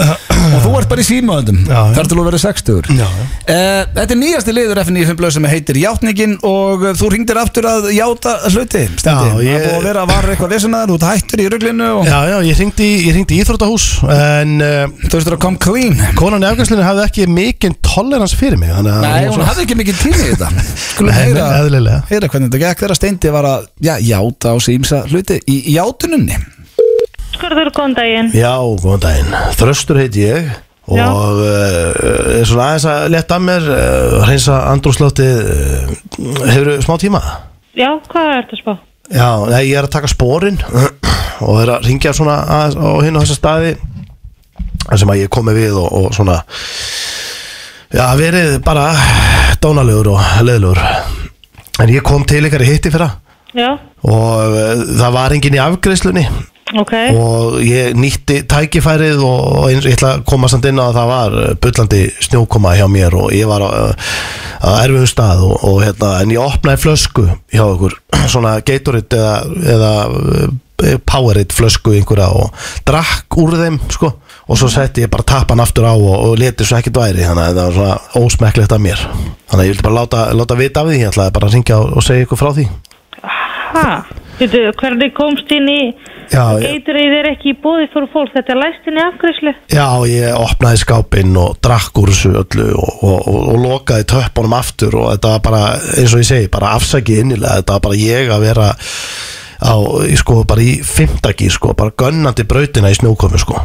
Og þú ert bara í síma
Já, já.
Þar til þú verið 60
Já, já.
Eh, Þetta er nýjasti liður FNF blöð sem heitir Játningin Og eh, þú ringdir aftur að játa hluti Stendi,
Já,
það
ég-
er búið að vera að vara eitthvað vesinaðar Þú ert hættur í ruglinu og
Já, já, ég hringdi, í- ég hringdi í Íþróttahús En uh,
þú veist að come clean
konan í afgjörslinni hafði ekki mikinn tolerans fyrir mig þannig að-
Nei, hún hafði ekki mikið tími í þetta Skulum
Nei,
heyra,
nei, eðlilega.
heyra hvernig þetta gekk þegar Steindi var að já, játa á símsa hluti í játununni
Skurður, góðan daginn.
Já, góðan daginn Þröstur heiti ég Og
Já.
uh, er svona aðeins að leta að mér uh, Hreinsa andrúslátti uh, Hefur smá tíma?
Já, hvað ertu að spá?
Já, nei, ég er að taka spórin Og er að ringja svona aðeins á hinn og þessa staði þar sem að ég komi við og, og svona Já, verið bara dónalegur og leðlugur En ég kom til ykkar í hitti fyrra
Já,
og eh, það var enginn í afgreiðslunni
ok.
og ég nýtti tækifærið og og eins, ég ætla að koma samt inn á að það var eh, bullandi snjókoma hjá mér og ég var á, eh, á erfiðum stað og, og hérna, en ég opnaði flösku hjá okkur, svona Gatorade eða, eða eh, Powerade flösku einhverja og drakk úr þeim sko og svo setti ég bara tappan aftur á og, og leti svo ekkert væri þannig að það var svona ósmekklegt af mér þannig að ég vildi bara láta, láta vita af því ég ætlaði bara að ringja og, og segja ykkur frá því
Hæ? Veitu, hvernig komst inn í...
Já, ég-
Geitur í þér ekki í bóði fyrir fólk, þetta er læst inn í afgriðslu.
Já, ég opnaði skápinn og drakk úr þessu öllu og, og, og, og lokaði töppunum aftur og þetta var bara, eins og ég segi, bara afsakið innilega, þetta var bara ég að vera á, ég sko, bara í fimmtagi, sko, bara gönnandi brautina í snjókomi, sko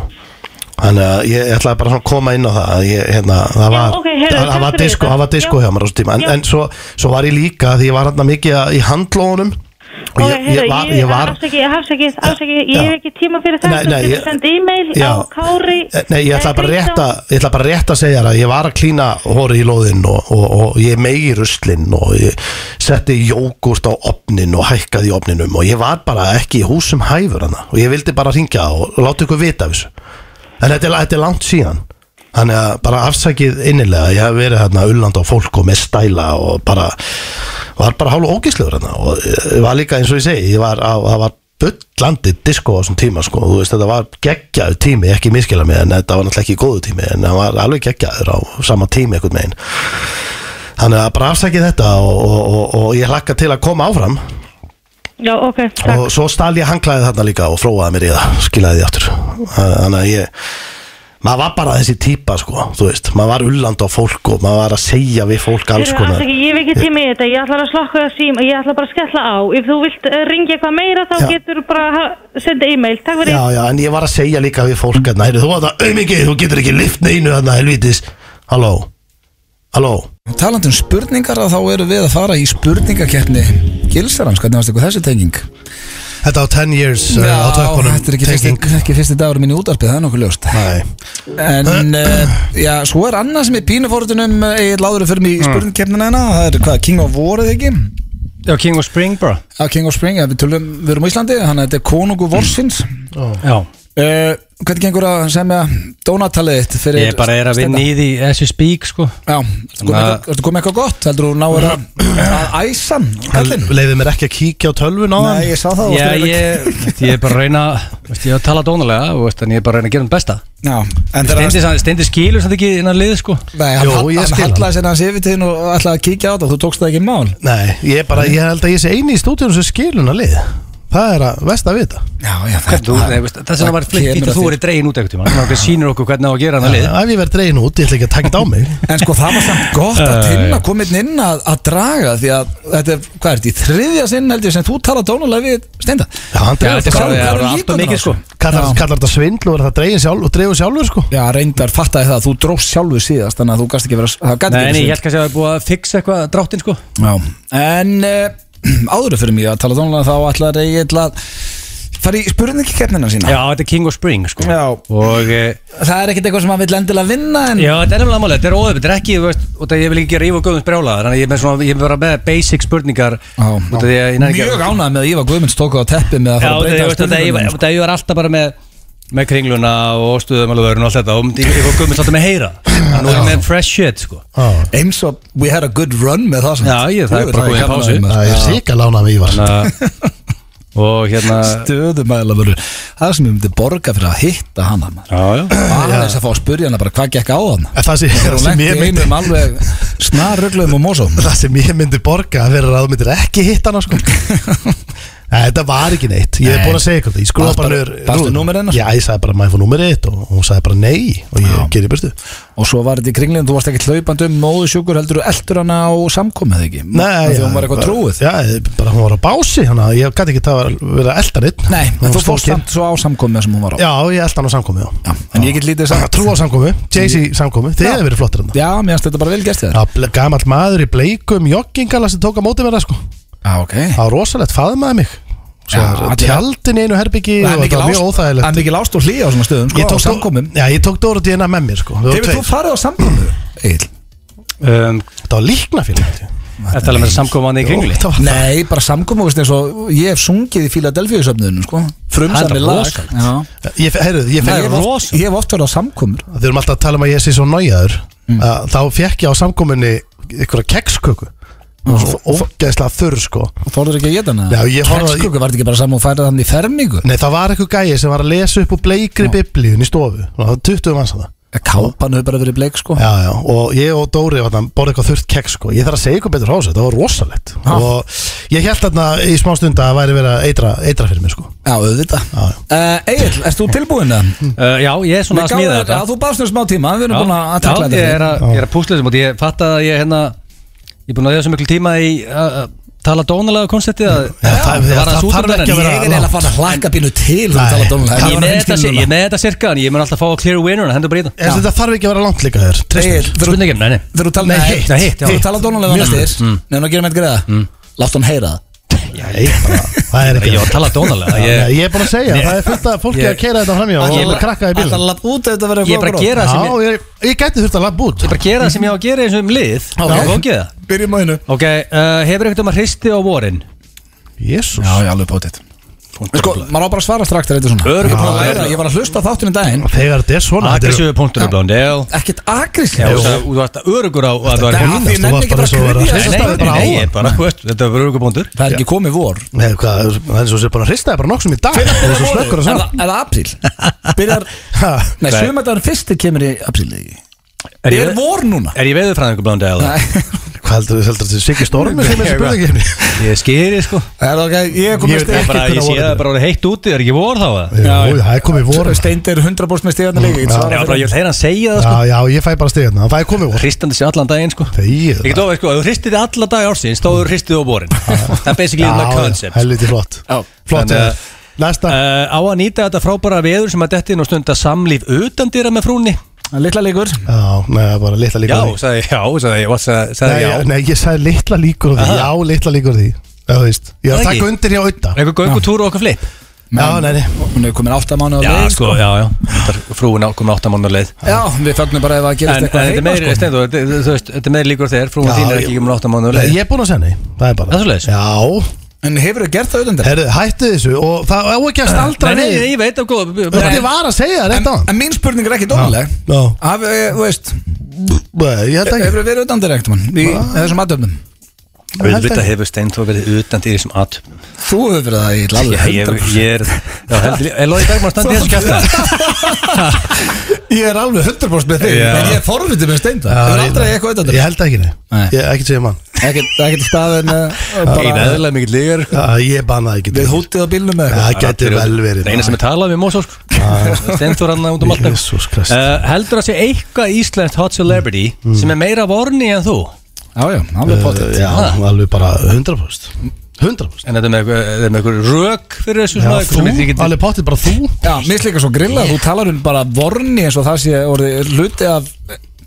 Þannig að ég ætlaði bara svona að koma inn á það að ég, hérna, það var,
ok, heyrðu,
það, það
takk
var
fyrir
disco,
þetta.
það var disco
Já.
hjá mér á þessu tíma en,
Já.
en svo, svo var ég líka því ég var hérna mikið að- í handlónum og
Ok,
ég, ég var, ég var
Afsakið, afsakið, afsakið, ég
Já.
hef ekki tíma fyrir þetta.
Nei, nei,
Þú
ég-
getur senda e-mail
Já.
á Kári...
Nei, ég ætla
eh,
bara rétt
Kristján.
að ég ætla bara rétt að segja þér að ég var að klína hóri í lóðinn og, og, og ég megi ruslinn og ég setti jógurt á opnin og hækkaði í opninum og ég var bara ekki í húsum hæfur hana og ég vildi bara ringja og, og láta ykkur vita af þessu en þetta er, þetta er langt síðan þannig að bara afsakið innilega ég hef verið hérna ulland á fólk og með stæla og bara var bara hálf ógislegur hérna og ég var líka eins og ég segi ég var, á, það var bullandi disco á þessum tíma sko, þú veist þetta var geggjaður tími ekki miskila mig en þetta var náttúrulega ekki góðu tími en það var alveg geggjaður á sama tími einhvern veginn þannig að bara afsakið þetta og, og, og, og ég hlakka til að koma áfram
Já, ok, takk.
og svo stal ég hanglaðið þarna líka og fróaði mér í það, skilaði því aftur þannig að ég maður var bara þessi típa sko, þú veist maður var ulland á fólk og maður var að segja við fólk alls
Heyrðu,
konar
afsakið, ég hef ekki tíma í þetta, ég ætla að slokka það sím, ég ætla bara að skella á. Ef þú vilt uh, ringja eitthvað meira, þá
Já.
getur bara ha- senda e-mail. Takk fyrir.
Já, já, en ég var að segja líka við fólk að næri, þú var það auðmikið, þú getur ekki lift neinu þarna, helvítis, halló halló,
Talandi um spurningar að þá eru við að fara í spurningakeppni Gilsarans, hvernig varst eitthvað þessi tenging?
þetta á 10 years uh, já, á tökkunum,
þetta er ekki fyrsti, ekki fyrsti dagur minn í útarpið, það er nokkuð ljóst
Nei,
En, uh, já, svo er annað sem er eh, pínuforðunum Ég láður að fyrir mig í spurningkeppnina hérna Það er hvað, King of War eða ekki?
Já, King of Spring bara
Já, King of Spring, já, við, tölum, við erum á Íslandi Þannig að þetta er konungu vorsins
Já
Uh, hvernig gengur að semja dónatalið þitt fyrir
Ég bara er að vinna í því as you speak sko
Já, ertu komið
Na-
eitthvað, ertu komið eitthvað gott? Heldur þú náður að, að æsan kallinn?
leiðið mér ekki að kíkja á tölvun á
Nei, ég sá það þú varst
Já,
að reyna
ég, ég er bara að reyna veist, Ég er að tala dónalega og veist, en ég er bara að reyna að gera um besta
Já, en þegar
Steindi,
hann
samt- steindi skilur samt ekki innan liði sko
Nei, hann,
Jó,
Jó,
ég
hann,
skil
hann
hann.
hallaði sér hans yfir tíðin og ætlaði að kíkja á þetta og þú tókst það ekki í mál
Nei, ég er bara, ég held að ég sé eini í stúdíunum sem skiluna lið, það er að vest að vita
Já, já,
Þú, nei, veist, það sem var flikt
kemur
fínt að
að
þú
því.
verið dregin út eitthvað tíma Það sýnir okkur hvernig á að gera hann að lið
Ef ég verð dregin út, ég ætla ekki að taka þetta á mig
En sko það var samt gott að tinna komið inn að, að draga því að þetta er, hvað er þetta, í þriðja sinn held ég sem þú tala dónalega við Steinda
Já, hann
Já, þetta
dregur
er
Hvað-
svo-
hvað
það
eru líkurnar á þessu? Já.
var allt og mikið sko
Kallar, kallar þetta svindl og er það dregin sjálf og dregur sjálfur sko
Já, reyndar fattaði það að þú dróst sjálfu síðast þannig að þú gast ekki verið að, það gat
Nei,
ekki
nei,
verið
ég held kannski að það er búið að fixa eitthvað dráttinn sko
Já, en uh, áður en fyrir mig að tala tónlega þá ætlaði ég ætla að fara í spurningkeppnina sína
Já, þetta er King of Spring sko
Já.
Og eh,
Það er ekkert eitthvað sem hann vil endilega vinna en
Já, þetta er nefnilega málið, þetta er óöfn, þetta er ekki, þú veist, og það ég vil ekki gera íf og guðum sprjálaðar, þannig að ég er með svona, ég er bara með basic spurningar,
Já,
út af því að ég næri ekki
mjög ánægð með að Ívar Guðmunds tók á teppi með að
Já,
fara að
það
breyta
ég veist, það ég,
spurningum
það ég var alltaf bara með, með kringluna og stuðumæluvörun og allt þetta og ég fór gummið svolítið með heyra það nú er ég með fresh shit sko
Eins og we had a good run með það sem
Já, ég- það er bara komið í pásu.
Það er síka lánað með Ívar
Þannig að- og hérna
Stöðumæla verður Það sem við myndum borga fyrir að hitta hana maður.
já, já.
Bara þess að fá að spurja hana bara hvað gekk á hana
En Það sem-
Þegar
það
hún
sem
lendi
ég
í
myndi
einum alveg snarrugluðum og mósum
Það sem ég myndi borga að vera að þú myndir ekki hitta hana sko Nei, þetta var ekki neitt Ég er
Nei.
búin að segja ykkur þetta Ég skrúða
Barst
bara
bara-
niður
barstu
rúðuna.
númerið hennar?
Já, ég sagði bara maður fór númerið þitt og hún sagði bara nei og ég gerði burtu
Og svo var þetta í kringlinn, þú varst ekki hlaupandi um móðu sjúkur heldur og eldur hana á samkomið ekki
Nei,
Því
já,
hún var eitthvað
bara-
trúið
Já, ég- bara hún var á bási Þannig að ég gæti ekki það að vera eldan einn
Nei,
Hún
en þú
var
fórst
stókin.
samt svo á samkomið sem hún var á
Já, ég eldan á samkomi já.
Já, En ég get lítið sagt
Trú á samkomi, Jay-Z samkomi Þið hefur verið flottir hann
Já, mér finnst þetta bara vel hérna. gestið þér
Já, ble- gamall maður í bleikum joggingala sem tók á móti verða sko
Já, ok
Það var rosalegt, faðmaði mig Svo
Já,
var
þetta-
tjaldin í einu herbyggi
Það
og
er
þetta
mikil
var mjög
ást- það
óþægilegt
er mikil ást og hlýja á svona stöðum
Ég
sko,
tók
á samkomum
Já, ég tók Dóra Dína með mér sko Við vorum
Hefur þú
tveir.
farið á samkomið? Egil
um,
Þetta var líkna fyrir
Þetta er með samkomaðan í kringli
Þetta var
Nei, bara samkomið, veist eins og ég hef sungið í Philadelphia söfnuðinu, sko Frumsami
Það er
lag
rosalegt.
Já.
Ég, heyrðu, ég
Nei,
fekk
Ég hef oft- ég hef oft verið á samkomur
Þau erum alltaf að tala um að ég sé svo nájaður mm. Þá fekk ég á samkominni ykkur að keksköku
Mm.
Ógeðslega þurr sko
Þorður ekki að geta hana?
Já, ég horfði-
Keksköku var þetta ekki bara saman og færið hann í fermingu?
Nei, það var eitthvað gæi sem var að lesa upp úr bleikri biblíun í stofu Það var 20 manns að það
Kápan hefur bara verið bleik, sko
Já, já, og ég og Dóri vatna, borði eitthvað þurrt keks sko. Ég þarf að segja eitthvað betur hása, það var rosalegt
Ha.
Og ég held þarna í smá stund að það væri verið að eitra, eitra fyrir mér sko.
Já, auðvitað
Já, já.
uh, Egil, erst þú tilbúin það?
uh, Já, ég er svona að smíða þetta
Já, þú bafst um smá tíma, við erum búin að að
já,
takla
ég er
þetta
að, ég er að púsla þessum og ég fatt að ég hérna ég er búin að eða svo miklu tíma í að að tala dónalega konceptið að
Já, það-
var
það
aðeins
þarf
út undan
ekki að
en
Ég
vera-
ég-
er eiginlega fann að hlakka bínu til þú
Nei.
talar dónulega.
Ég er með þetta
Það
sir- ég er með þetta cirka en ég mun alltaf fá að clear winner hendur bara í
Ég veist, Þetta þarf ekki að vera langt líka þér
Egil,
það
þegar
Spurning ekki, nei, nei
þú tala
Nei,
Nei,
hitt,
nei, hitt, já.
Þegar þú tala dónulega
Mjög
næstir Nefnum að gera með þetta greiða Látt hann heyra það
Nei, bara, það er ekki
Ég var að tala dónalega
Nei,
Ég
Ég er bara að segja, það er fullt af fólki
Ég-
að keira þetta framjá og
Ég
bara
bara-
krakka í
Ætlar
bílum
að lappa út að þetta verður
Ég er bara að gera það
Já,
sem ég
ég, ég gæti þurft að labba út
Ég er bara að gera það sem ég á að gera eins og um lið
Ok.
Það er gókið það
Byrjum á hennu
Ok, uh, hefur eitthvað um að hristi á vorin?
Jésús
Já, já, alveg potið Sko, maður á bara að svara strax þegar þetta er svona
Öruggur punktur.
Já, já, Ég var að hlusta á þáttinn í daginn
Þegar þetta er svona þetta er-
Aggressífu punktur er blónd, já
Ekkert agressív
Já, þú veist að- Þú varst að örugur á að það var
Þetta- Því
himna
Þú varst
nenni ekki
bara
bara
svo að
að
vera-
Nei,
kryfja
nei,
þessa
nei, nei,
staðinn.
ég er bara, þú veist, þetta var örugur punktur
Það er ekki komið vor
Nei, hvað, Það er svo sem bara að hrista þér bara nokkuð sem í dag Þú er svo slökkur að
Er
sagða
það- er það apríl? Byrjar Nei,
Nei.
sömadagur fyrsti kemur í apríl ekki? Er vor núna?
Er ég veður frá einhver blónd eða?
Nei.
Hvað heldur þú heldur þetta Siggi Stormi sem er spurningin
Ég skýri sko
Er það ok? Ég er
Ég
komið
veit
Ég,
steg
ekki
bara, ég sé
hvenær vorið
það
er.
bara orðið heitt úti, það er ekki vor þá eða?
Jú, það er komið vor
Steindir 100% með stegarna líka Mm, ég svara
Já, bara
fyrir.
ég vil heyra hann segja það sko
Já, já, ég fæ bara stegið Það er komið vor
Hristandi sér allan daginn sko
Þegið
Ég get ofið sko, ef þú hristir þið alla dag ársins Þá þú hristið á borin Það er basically það concept
helviti flott
Já.
Flott
Þannig að-
eh, Næsta
Uh, Á að nýta þetta frábæra veður sem að detti inn og stunda samlíf utan dýra með frúnni
Það er Litla líkur
Já, neða, bara litla
Já,
líkur á því.
sagði ég, já, sagði ég, what, sagði, sagði
Nei,
ég, já
Nei, ég sagði litla líkur á því
Aha.
Já, litla líkur á því Já, þú veist Ég var
Það
að taka
ekki?
undir hjá auða
Eitthvað göngutúr og okkar flip
Já, nei, nei
Hún er komin 8 mánu á
Já,
leið
sko, já, já Frúin ákomið áttamánu leið
Já, við fögnum bara ef að
En,
gerast
en þetta
eitthvað
er
heima
meiri,
sko
Steindu, þú veist, þetta er meiri líkur þér Frúin
Já,
þín er
ég-
ekki komin áttamánu leið
Ég er búinn að segja nei Það er bara
Það er svoleiðis?
Já
En hefur þau gert það auðvendur?
Herðu, hættu þessu Og það á ekki að staldra
Nei, nei,
við
nei, ég veit af góð
Þetta var að segja það rétt á
En mín spurning er ekki dónuleg
Já.
Haf, eh, Þú veist,
Ég held ekki
hefur þau verið auðvendur ekkert mann Í þessum aðdöfnum
Auðvitað hefur Steindu verið utan dýri sem at
Þú hefur verið það í
Ég,
alveg
ég,
100%
ég er Já, heldur, er Lóði Bergman standið þessu kæfta?
Ég er alveg 100% með þig
Já.
En ég er forvitið með steinda
Já,
Það er
ég-
aldrei eitthvað auðvendur
Ég held ekki nei
Nei.
Ég um ekki segja mann
Ekkert ekkert staðin eh,
Ég er
bara
eðlilega mikill lígar
Já, Ég bannaði ekki
Við hútið á bílnum eða
Það
eitthvað
gæti vel verið
Það eina sem er talað um við Mósósk Stendur hann sko. út um allt
Jesus Christ.
Eh, Heldur að sé eitthvað íslenskt hot celebrity
Mm.
sem er meira vorni en þú
Já, já,
Eh,
alveg Ah. potið
Eh, Já, alveg bara 100% 100%
En þetta er með eitthvað- þetta er með eitthvað rök fyrir þessu
Já,
svona, eitthvað
þú,
sem ég get-
alveg pottið bara þú
Já, mér slíka svo grilla Þú talar um bara vorni eins og það sé orðið eh, hluti af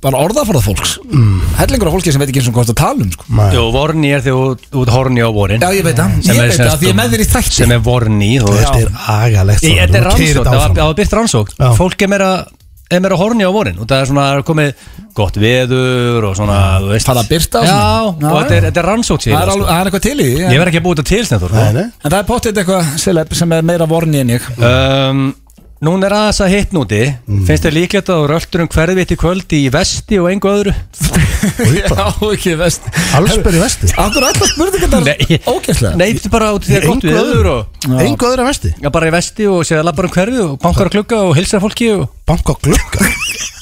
bara orðaforða fólks mm. Hellingur af fólki sem veit ekki eins og hvað það tala um sko.
Nei.
Jú, vorni er því út, út horni á vorin
Já, ég veit það,
Sem
ég
er
veit
sem um-
það, því ég er með þér í þætti
Sem er vorni þú veist.
Þetta er agalegt
Í- Þetta er
Þú keyrir
rannsókn,
þetta
það var-
áfram.
það var byrst rannsókn
Já.
Fólk er meira er meira horni á vorin og það er svona það er komið gott veður og svona þú veist.
Það er að birta á
Já,
svona.
og
Já,
þetta er,
já.
þetta er rannsókn
Það
síðan
er, alveg,
sko.
það er eitthvað til í því,
Ég
en,
verð ekki að búið þetta til snettur
Nei, nei
en það er potið eitthvað celeb sem er meira vorni en ég
um, Núna er aðeins að hitt núti Finnst þér líklegt að þú röldur um hverfitt í kvöld í vesti og engu öðru?
Já, ekki vest
Allsber í vesti
Akkur alltaf spurningarnar Ógæslega
Nei, þetta er bara út í því að gott
Engu
við öður
öðru
og
Engu öðru að vesti
Já, bara í vesti og séða labbar um hverfið og bankar á glugga og hilsar fólki og
Bank og glugga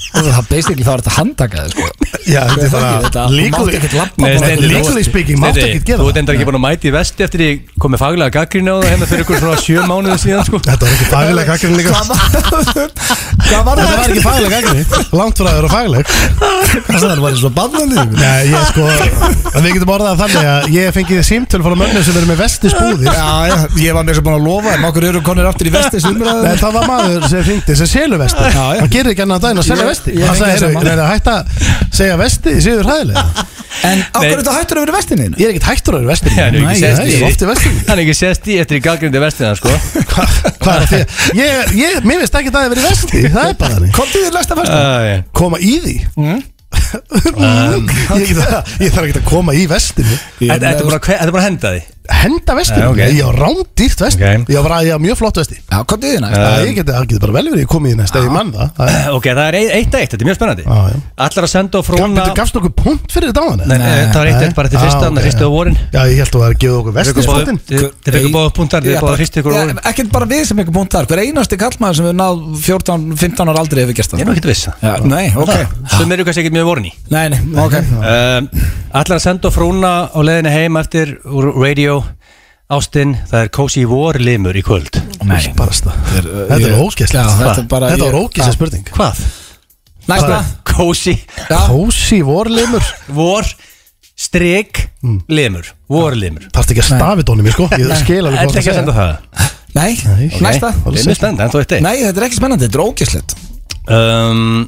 Það er basically þá er þetta handtaka þér sko
Já, þetta er
Það er þetta,
bara
þú mátt
Legally
ekkert labba
Nei,
bara-
Steindi,
Steindi,
legally
þú-
speaking, máttu
Steindi,
ekkert gera
Þú
það.
ert endur ekki búin að mæti í vesti eftir ég komið faglega gaggrín á það hérna fyrir ykkur svona sjö mánuði síðan sko
Þetta var ekki fagileg gaggrinni líka
Hvað var
Þetta
það?
var ekki fagileg gaggrinni Langt frá þér og fagileg
Það var eins og bandandi
Já, ég sko en Við getum orðað það þannig að ég fengið símtöl frá mönnum sem eru með vesti spúði
Já, já, ég var mér sem búin að lofa en okkur eru konir aftur í vesti sem
Nei,
umræðum
það var maður sem hringdi sem selur vesti
Já, já.
Hann gerir ekki annan daginn að selja
Ég-
vesti
ég
Hann
fengi
sagði,
þessa
heyrðu,
mann.
er það hægt að segja vesti í síður hæðilega
En okkur er
Nei.
þetta hættur að vera í vestinni?
Ég er ekkert hægtur að vera vesti
Já, nú ekki
Nei,
sest
nei,
í
ég er
því.
oft í vesti
Hann er ekki sest í eftir í gaggrindi vestina sko
Hvað er það? Ég, ég, mér veist ekki að það er verið vesti Það er bara þannig
Komdu þér næsta vesti
Æ,
Koma í því ég, get, ég þarf ekki að koma í vestinu
Þetta þetta er búin að kve- þetta er búin að henda því
Henda vestinu,
Já, ok.
ég á rándýrt vesti
Ok.
Ég á bara, ég á mjög flott vesti
Já, komdu þér næsta
Eh,
Það ég geti, það geti bara vel verið, ég komið í næsta, ég mann það Það er-
Ok, það er ein- eitt að eitt, þetta er mjög spennandi
Ah, Já, já.
Allar að senda og
Gaf-
fróna
Bíddu, Gafstu okkur punkt fyrir þetta á hann?
Nei, nei, það var eitt eitt bara til
Nei.
fyrsta,
Ah,
þannig
ok.
að fyrstu á vorin
Já, ég held að það er að gefa okkur
Þeir fengu
vestinspottin
báða- þeir- þeir fengu báða punktar, þeir báða hristu ykkur á orðin.
Ekkert bara við sem ykkur punkt þar Hver einasti kallmaður sem við náð 14-15 ára aldrei hefur gert
Ég
það
er nú ekkert viss
Já, Nei, ok
Sum eru kannski ekkert mjög vorin í
Nei, nei, ok
Ah.
um, Allar að senda og fróna á leiðinni heim eftir úr radio Ástin, það er Cozy War limur í kvöld
Nei.
Barasta Þetta er
Já,
ógæslegt
þetta er bara
Þetta var
ég-
ógæslega spurning
Hvað?
Næsta
Cozy
Já.
Kósi vorlimur
War strik limur War limur
Þarft ekki að stafi dónum í sko Ég skil alveg
Þetta
hvað
er ekki að senda það
Nei,
Nei.
næsta
Nei, Það er mjög spennt, en þú veit eitt
Nei, þetta er ekki spennandi, þetta er ógislegt
um,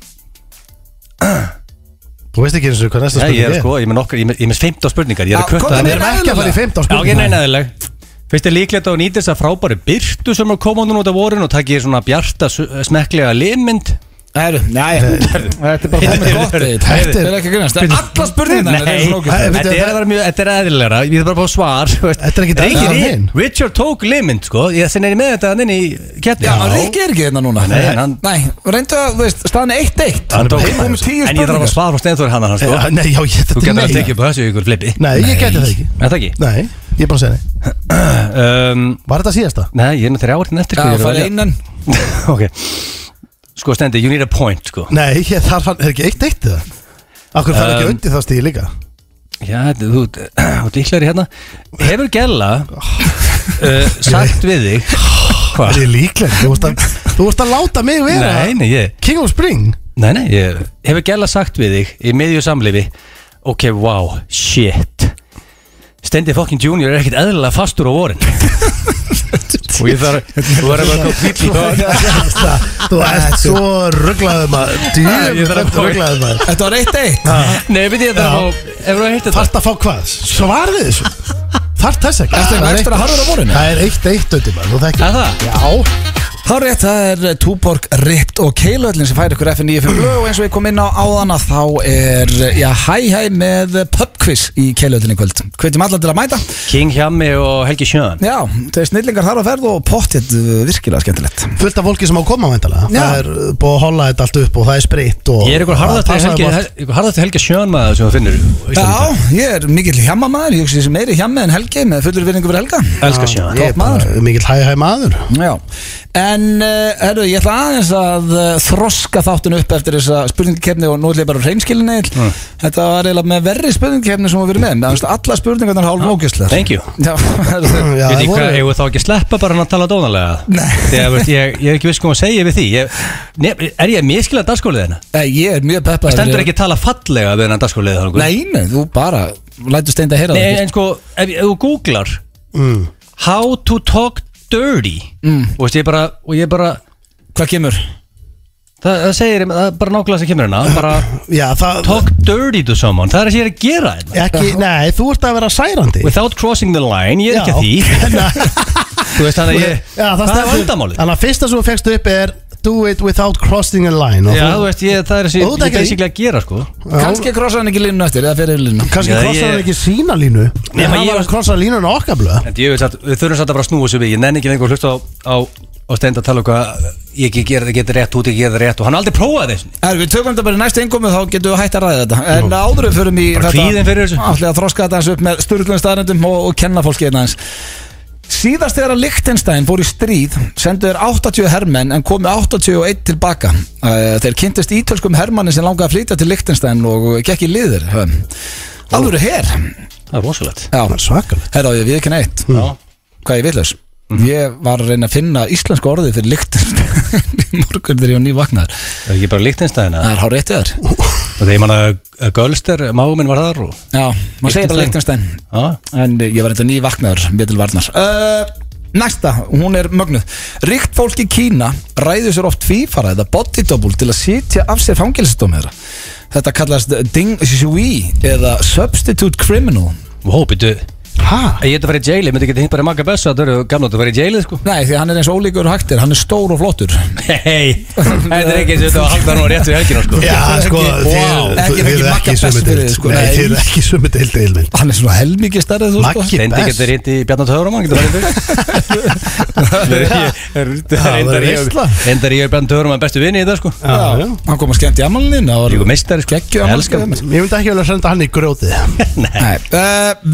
Þú veist ekki eins og hvað næsta
Nei, ég
spurning
er
er
sko, ég er með nokkar, ég er með- ég er með 15 spurningar Ég er að
Já,
kvötta
komdu
það
Við
með
niður.
erum ekki að fara í 15
Já, ok,
spurning
neinaðileg Finnst þér líklegt að hún nýtir þess að frábæri byrtu sem er komandur út af vorun og takk ég svona bjarta su- smekklega limmynd
Herru, nei, þetta er bara
Heyrðu,
komið gott
heyrðu,
eitt.
heyrðu.
Þetta er ekki að grunast Alla spurningarna
Nei, þetta er að vera mjög, þetta er aðilegra Ég er bara að fá svar þú veist.
Þetta er ekkert
Ríkir
eðlilegra
í-
en hin.
Richard tók limmynd, sko Ég þinn er með þetta hann inn í kettni
Já, Rikki er ekki hérna núna
Nei, en hann-
Nei, reyndu að, þú veist, staðan er 1-1
Hann tók
Heim
En
um tíu
ég þarf að
spurningar
svara frá steinþóri hann hann, sko
Já, Nei, já, ég
Þú
þetta
getur
nei.
að tekja upp á þessu ykkur flipi
Nei, ég geti það ekki
Er það ekki?
Nei, ég er bara að segja nei
Um,
Var þetta síðasta?
Nei, ég er með þrjá orðin eftir
Já,
sko, ég er að
farið
velja-
einan
Ok Sko, Stendi, you need a point, sko
Nei, ég þarf hann Er ekki eitt eitt það? Akkur þarf ekki
Um,
undir það stíði líka
Já, þú þú- þú dýklar í hérna Hefur Gella uh, sagt við þig
Er
Hvað?
ég líkleg? Þú vorst að, þú vorst að láta mig vera
Nei, nei, ég
King of Spring
Nei, nei, ég Hefur Gella sagt við þig í miðju samlifi Ok, wow, shit Stendi fucking junior er ekkert eðlilega fastur á vorin Og ég þarf Þú er að vera completely dog
Þú ert svo rugglaður maður
Ég þarf að
Djöfn
fá-
rugglaður maður
Þetta var 1-1
Nei, veit ég þetta Ef þú heitir þetta
Þarft að fá hvað? Svarið þessu Þarft þess ekki
Ertu eitthvað ekstra harður á vorinu?
Það er eitt eitt auðvitað maður Þú þekkir
Er það?
Já
Þá er rétt, það er Túborg Ript og Keilöllin sem fær ykkur FN95 blöð og eins og ég kom inn á áðana þá er, já, hæ hæ með pubquiz í Keilöllin í kvöld Hvetjum alla til að mæta
King Hjami og Helgi Sjön
Já, þeir snillingar þar á ferð og pottitt virkilega skemmtilegt
Fullt af fólki sem á að koma væntalega
Já.
Það er búið að holla þetta allt upp og það er sprit og
Ég er ykkur harðast
Passaðu
Helgi,
bara-
ykkur harðasti Helgi Sjön maður sem þú finnur á Íslandi.
Já, ég er mikill hjamamaður, ég hugsi sem meiri hjamma en Helgi með fullur vinningu fyrir Helga
Elskar Sjön
Ég er bara mikill hæ hæ maður
Já, en uh, herru, ég ætla aðeins að uh, þroska þáttun upp eftir þessa spurningakefni og nú ætla ég bara reynskilinni mm. Þetta var eiginlega með verri spurningakefni sem við verið með, með aðeins alla spurningarnar hálf ógjöslega
Thank you
Já, herru,
Veit
Já, það
ég hvað,
voru
hefur þá ekki að sleppa bara hann að tala dónalega?
Nei.
Þegar, veist, ég, ég er ekki viss hvað að segja við því ég, nef, Er ég að miskila dagskólið hennar?
Nei, ég er mjög
Það
peppaður
stendur ekki að tala fallega við hennar dagskólið hennar
Nei, nei, þú bara, lætur steinda að heyra
Nei,
það
en sko, ef, ef þú googlar
Mm.
How to talk dirty mm. og, veist, ég bara, og ég bara
Hvað kemur?
Það, það segir, það er bara nákvæmlega sem kemur hennar bara
Já það
talk dirty to someone Það er það sem ég er að gera hennar
Ekki Nei þú ert að vera særandi
Without crossing the line, ég er ekki að því
Nei
Þú veist þannig að ég,
Já, það
það er
stendur-
vandamálið
Þannig að fyrsta sem þú fegst upp er Do it without crossing a line og
Já,
þú-
þú veist, ég, það er þessi,
Og þú
ég
tekur því.
basically að gera sko
Já.
Kanski krossa hann ekki línu eftir, eða fyrir línu
Kanski
Já,
krossar
ég-
hann ekki sína línu
Nei,
En
maður
hann
ég-
var að krossa línuna okkar blöð
En ég veit að við þurfum satt að bara snúa sér við Ég nenni ekki lengur að hlusta á, á og stend að tala um hvað ég ekki gera það geta rétt, þú ekki gera það rétt og hann aldrei prófaði þessu
Er, við tökum þetta bara í næstu engum þá getum við hægt að ræða þetta En áður en við förum í
Bara kvíðin fyrir þessu.
Ætlið að þroska þetta eins upp með sturglum staðrendum og, og kenna fólki einn aðeins Síðast þegar að Lichtenstein fór í stríð sendu þeir 80 hermenn en komu 81 tilbaka Eh, Þeir kynntist ítölskum hermanni sem langaði að flytja til Lichtenstein og gekk í liðir Alvöru her
það er rosalegt
Já,
Svakal
herra ég við ekki neitt
Já. Mhm.
Hvað ég vitlaus Ég var að reyna að finna íslensku orðið fyrir Lichtenstein í morgun þegar ég var nývagnar
það er ekki bara líktinstæðina
Það er hár réttið þar
og þegar manna Gölster, máguminn var þar og
Já, maður segir bara Lichtenstein
Já.
En eh, ég var eitthvað ný vaknaður, við til varnar uh, Næsta, hún er mögnuð Ríkt fólk í Kína ræður sér oft tvífara eða body double til að sitja af sér fangilsdóm þeirra Þetta kallast Ding Shui eða Substitute Criminal
Vó, býttu,
Hæ?
ég geta farið í jaili, myndi geta hitt bara Magga Bessa, það eru gamla átt að fara í jaili sko
Nei, því hann er eins ólíkur og hægtir, hann er stór og flottur
Hei, þetta er ekki eins og þetta var að halda nú rétt við helgina sko
Já, sko,
Ekki- Vá.
þið
Ekki- ekki
þið eru
Magga
ekki í sömu
best fyrir
deild
þið, sko,
Nei,
nei.
þið eru ekki í sömu deild Eilvind
Hann er svona helmingi stærrið þú sko.
Maggi.
Steindi
best.
getur hitt í Bjarnar Törum hann getur farið í þig
það verður veisla.
Endar ég er Bjarnar Törum hann bestu vinni í þetta sko
Já, hann kom að skemmt í amalinn
Ég er meistari sko
Gekkju amal
Elskar
Nei,
Ég myndi ekki vel að senda hann í grjótið
uh,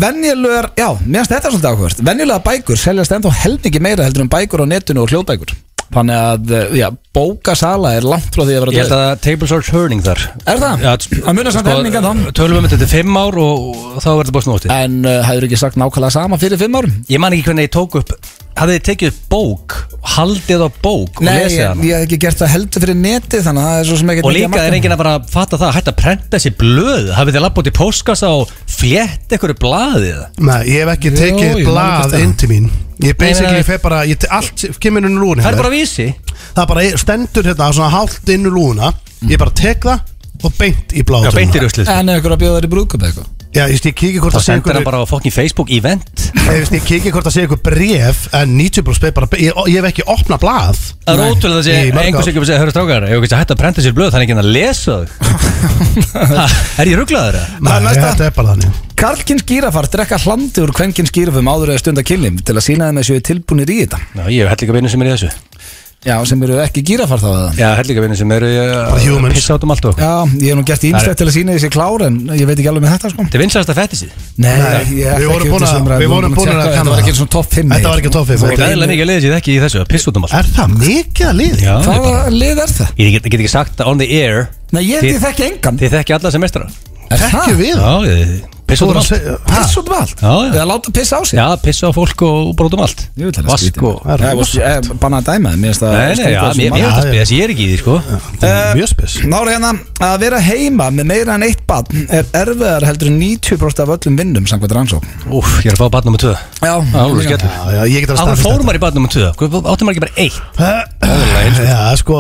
venjulegar, já, meðan þetta er svolítið áhverst Venjulega bækur seljast ennþá helmingi meira heldur en bækur á netinu og hljóðbækur Þannig að, eh, já, bókasala er langt frá því að vera
Ég
dauð.
held að tables are turning þar
Er það?
Já, sko,
Það munar samt helming en þá.
Tölum við um þetta fimm ár og og þá verður þetta bara snúið
En uh, hefur ekki sagt nákvæmlega sama fyrir fimm árum?
Ég man ekki hvernig ég tók upp Hafið þið tekið upp bók Haldið á bók og
Nei,
lesið
ég,
hana
ég hef ekki gert það heldur fyrir neti þannig að það er svo sem ekki
Og líka er enginn að bara fatta það Hætt að prenta þessi blöð Hafið þið lappa út í póskasa og flétt einhverju blaðið eða?
Nei, ég hef
Jú,
ekki
ég
tekið
man ekki
blað
eftir eh,
inn til mín Ég
nei,
basically
nei.
fer bara, ég, te- allt kemur inn úr lúðin
Það er bara vísi
Það er bara, ég stendur hérna svona hálft inn úr lúðina Ég bara tek það og beint í bláð
Já, beint í ruslið sko.
En ef ykkur að bjóða þær í brúðköp eitthvað
Já, ég veist, ég kikið hvort
Þá
það sé
sendir
einhver
hann bara á fokkin Facebook event
Ég veist, ég kikið hvort það sé einhver bref En 90% bara, ég, ég hef ekki opnað blað
Það er ótrúlega það sé
Í mörg ár.
Einhvers ekki að segja Hörru strákar Ég hef ekki hætt að prenta sér blöð Þannig ekki að lesa þau Ha, Er ég rugglaður það?
Nei,
Það er næsta.
þetta er bara þannig
Karlkins gírafar drekka hlandi úr kvenkins gírafum áður eða stunda kynlim til að sína þeim að séu tilbúnir í þetta
Já, ég hef hellinga vinnu sem er í þessu
Já, sem eru ekki gírafar þá eða
Já, hellinga vinnu sem eru
humans.
Pissa át um allt og okkur.
Já, ég hef nú gert ímstætt til að sína þessi klár en ég veit ekki alveg með þetta sko
Þetta er vinsast að fætti sér
Nei,
Nei,
ég ætla
við
ekki út
vorum
í
búin að-
sumra,
við vorum búin
tjekka
að
Þetta
kanna
var ekki
það.
svona topp 5
Þetta var ekki top fimm,
Það er
Þetta
gæðilega mikið leðið sér ekki í þessu að Pissa út um allt
Er það mikið að liði?
Já, þetta er bara-
Hvaða lið er það?
Ég get, get ekki sagt það on the air
Nei, ég
Þið-
þið þekki engan
Þið þekki alla sem mestara
Er
Ekki
það?
við
Já, ég- pissa
Þú
út um
voru að
allt
segja ha?
Piss út um allt
Já, já.
Eða láta pissa á sig
Já, pissa á fólk og brotum allt
Ég vil það
Vask og
Það er
skrítið Banna að dæma Mér finnst það
Nei, nei,
skrítið
já,
að
mér
þessu
mér
manni.
finnst það spes, ég er ekki í því, sko
Þetta er Mjög spes
Nára hérna Að vera heima með meira en eitt barn er erfiðar heldur en 90% af öllum vinnum samkvæmt rannsók
Úf, ég er að fá batnum og tvö
Já,
alveg
já.
skellur.
Já, já, ég get að
Áður
staðfesta
fórum maður í batnum og tvö Hvað áttum maður ekki bara eitt?
þetta. Já, sko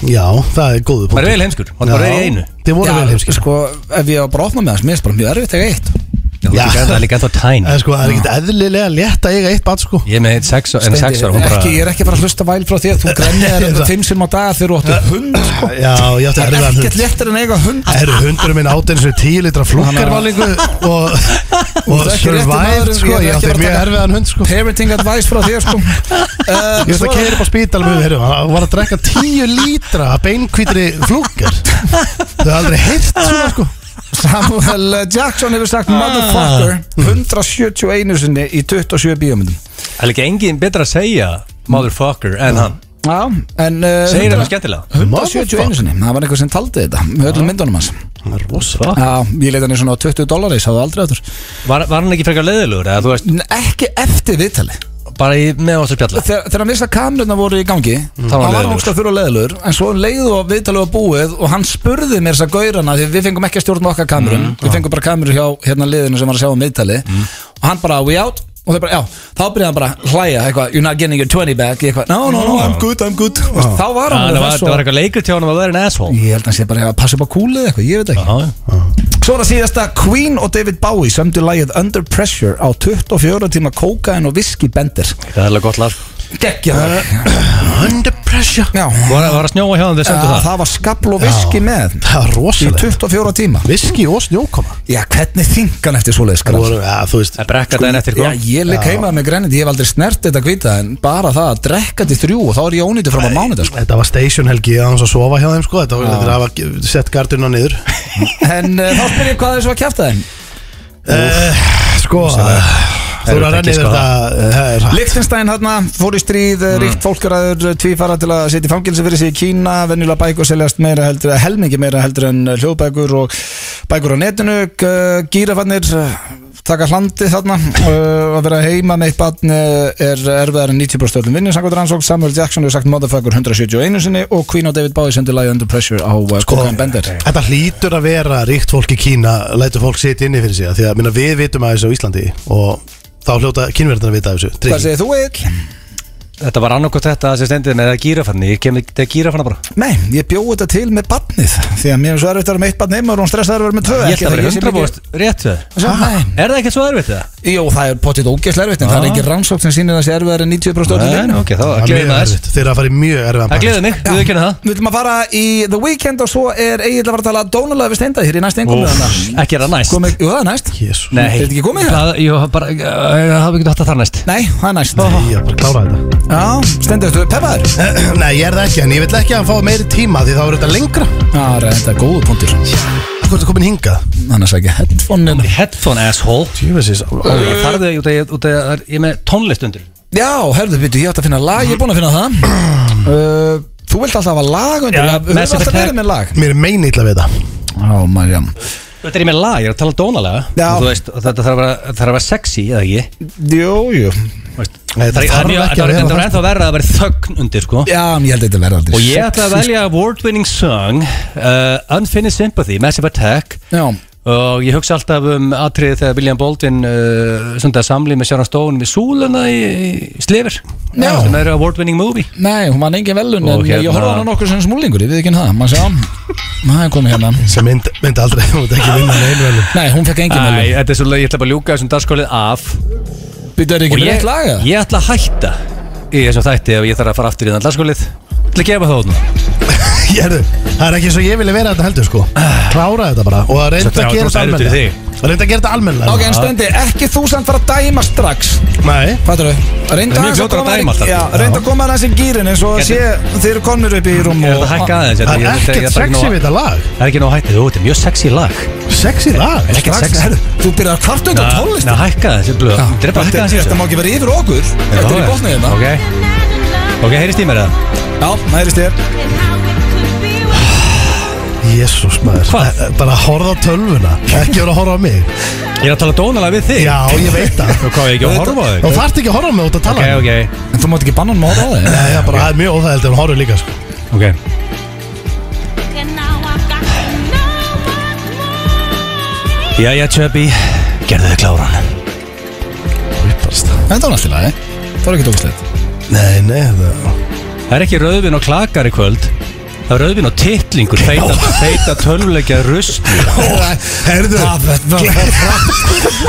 Já, það er góðu
Maður
punkt
er vel heimskur, maður er bara í einu
Þið voru vel
Já,
heimskir
sko, ef ég var bara að opna með þess Mér finnst bara mjög erfitt að eiga eitt
Já,
Já.
það er líka ennþá tæn
Það er sko, það er ekkert eðlilega létt að eiga eitt bat sko
Ég er með eitt sex, en
Steindi,
sex ára, hún bara
ekki, Ég er ekki að fara að hlusta væl frá því að þú grænir
Ég
þér
veit það.
Fimm sem á dag þegar þú áttu hund sko.
Já, ég
Það
átti
er
erfiðan
ekkert
hund
léttir en að eiga hund
Eru hundurum minn átt eins og 10 litra flúkkarmálingu og, og
ert ekki rétti
survived
maðurinn,
sko,
ég er
ég
ekki
átti
bara að
mjög
taka-
erfiðan hund sko
Parenting advice frá þér sko
Eh,
uh,
Ég veist að keira upp á spítal með þér og var að drekka 10 lítra af beinkvítri flúkkar Þau er aldrei heyrt svona sko
Samuel uh, Jackson hefur sagt Motherfucker
Ah.
171 sinni í 27 bíómyndum
Það er líka engin betra að segja Motherfucker en hann
Já, en
Segir það
uh,
með skemmtilega
171 sinni Það var einhver sem taldi þetta með öllum myndunum hans
Rosa
Já, ég leita hann í svona 20 dólar Ég sáðu aldrei aftur
Var, var hann ekki frekar leiðilugur eða þú veist
N- Ekki eftir viðtali
bara í með áttur spjalla
Þegar, þegar hann vissi að kamerunna voru í gangi þá var
var
hann
leiðinlegur.
ógst að þurfa leðlur en svo leiðu og viðtalið var búið og hann spurði mér þess að gaurana því við fengum ekki að stjórna okkar kamerun
Mm,
við fengum bara kameru hjá hérna liðinu sem var að sjá um viðtali og hann bara we out og þau bara já þá byrjaði hann bara að hlæja eitthvað you're not getting your 20 back eitthvað no no no I'm good I'm good og þá var hann
Það
alveg
var,
þess
það
og-
var eitthvað leikur til hann að vera en asshole
ég held að hann sé bara að passa upp á kúlið eitthvað ég veit ekki
Já,
Svo er það síðasta Queen og David Bowie sömdu lagið Under Pressure á 24 tíma kókain og viski bendir
það er alveg gott lag
Gekkja það
Eh.
Under pressure
Já,
Var, var að snjóa hjá þeim þeir sendu
það,
það
það var skabl og viski
Já.
með
Það var
Í
rosalegt
24 tíma
Viski og snjókoma
Já, hvernig þingan eftir svoleiðis
Það
skrall?
voru, ja, þú veist
Það er brekka daginn eftir
Já,
sko
ég leik heima með græniti, ég hef aldrei snert þetta hvita En bara það að drekka til þrjú og þá er ég ónýttu fram á mánudag sko.
Þetta var station helgi að hans að sofa hjá þeim sko Þetta var, þetta var að sett gardina niður
En uh, þá spyr ég hvað er svo að kæfta þeim
Sko Þú eru sko. að renni yfir þetta eh,
Lichtenstein hérna fór í stríð, mm. ríkt fólkaraður tvífara til að setja í fangilsi fyrir sig í Kína venjulega bækur seljast meira heldur eh, helmingi meira heldur en eh, hljóðbækur og bækur á netinu, G- gírafannir eh, taka hlandi þarna eh, að vera heima með eitt batn er erfiðar en 90% öllum vinnum samkvæmt rannsók Samuel Jackson hefur sagt Motherfucker 171 sinni og Queen og David Bowie sendu lagi Under Pressure á
Sko,
Kogan
eh,
Bender
Þetta hlýtur að vera ríkt fólk í Kína Lætur fólk sitja inni fyrir sig af Því að minna, við vitum að þessu á Íslandi Og þá hljóta kynverðarna að vita af þessu
Hvað
eh,
Drykki.
segir þú Egil?
Þetta var annarkot þetta sem stendur með það gírafanni Ég kem þetta gírafanna bara
Nei, ég bjóð þetta til með batnið því að mér er svo erfitt að vera með eitt batn heima og hún stressaður að vera með tvö
Ég
ekki
held
það
að vera
ég sé
100
mikið-
rétt við það.
Sjá, Nei,
Er það ekkert svo erfitt það?
Jó, það er potið ógeðslega erfitt en það er
Já.
ekki rannsókn sem sýnir að það sé erfiðar en 90% öllu
Nei,
leiknum
ok, þá
Það er
gleðið
mjög
maður
erfitt. Þeir eru að fara í mjög erfiðan
Það
barm.
gleðið mig, við ekki það
Við viljum að fara í The Weeknd og svo er Egil að fara að tala dónulega við steinda hér í næst engum
Úff, Ekki er það næst
Komið, jú, það er næst
Jesús.
Nei
Er þetta ekki komið hérna? það?
það? Jú, bara, uh, það hafði ekki hatt að það næst
Nei, það er næst
Ég er bara að klára þetta
Já, steinda, þú peppaður
Nei, ég er það ekki, en ég vil ekki að hann fá meiri tíma því þá er þetta lengra
Já, reynda, góðu punktur
Hvað er þetta komin hingað?
Annars ekki headphone-in
Headphone asshole
Tjöfessis
Ég þarf þau út af, út af, það er- ég er með tónlist undir
Já, herðu, byrju, ég átt að finna lag, ég er búinn að finna það uh, Þú vilt alltaf hafa lag undir Já, Við
Já,
höfum
Massive
alltaf
Attack.
verið með lag
Mér er meini illa við það
Já, maður,
Þetta er ég með lag, ég er að tala dónalega
Já.
Þú veist, og Þetta þarf að vera, þarf að vera sexy, eða ekki
já Jú, jú
Þú veist,
Nei,
Það
þetta
er
þarf
það er mjög-
ekki að
þetta
vera
er ennþá verða að vera þögn undir sko
Já, en ég held að þetta verði aldrei
Og ég ætla að velja award winning song uh, Unfinished Sympathy, Massive Attack
Já,
Og ég hugsa alltaf um atriðið þegar William Baldwin uh, stundaði samlið með Sharon Stone við súluna í, í Slifir
Já.
sem er award winning movie
Nei, hún vann engin velun
Og
en ég
hérna-
horfði á hana nokkur sem smúlingur, ég við ekki það maður sjá, maður er komið hérna
Sem mynd, mynd aldrei, þú veit ekki vinna með einu velum
Nei, hún fekk engin
Æ,
velun
þetta er svo leið, ég ætla bara að ljúka þessum dagskólið af
Býttu er ekki
Og ég,
rétt laga?
ég ætla að hætta í þessum þætti ef ég þarf að fara aftur í þann dagskólið ætla að gefa það út
Hérðu, það er ekki eins og ég vilja vera þetta heldur sko Klára þetta bara og reynda
Svo
að gera þetta
klára þetta
almenna
fyrir
Reynda að gera þetta almenna
Ok, en stendi, ekki þú samt fara að dæma strax
Nei,
Fattur þau? Reynda
Það er mjög
aðeins
fljótur að
koma
dæma
þér-
alltaf.
Já, reynda að koma aðeins í gýrin eins og
Gæti-
sé þeir eru komnir upp í rúm
Ég
og
ætla að hækka aðeins ég-
það
ég- ég- ég-
er ekkert
ég- ég- ég-
sexy við þetta lag
Það er ekki nóg hættið, þú, þetta er mjög sexy lag
Sexy lag
Er ekkert
Strax,
sexy.
herru, Þú byrjar að kvarta undan tónlist
Ná, hækka aðeins, ég blöð Þetta er bara að hækka aðeins í
Þetta
þessu
má ekki vera yfir okkur Þetta er í botnið hérna
Ok, ok, heyrist í mér það
Já, næðist þér
Jésús maður
Hvað?
Eh, Bara horfa á tölvuna Ekki vera að horfa á mig
Ég er að tala dónalega við þig
Já, ég veit það
Og hvað, ég ekki að horfa á þig
Þú þarft ekki að horfa á mig út að
Ok,
tala okay,
ok,
En þú mátt ekki banna hann móta á þig
Nei, það er bara það er mjög óþægild ef hún horfir líka sko
ok Jæja, Chubby, gerðu þig kláran
Þetta var alltaf lagi Það var ekki tókslegt
Nei, nei, það
Það er ekki rauðvin og klakar í kvöld Það er rauðvin og titlingur Feita, feita tölvuleikja rusl
Herðu,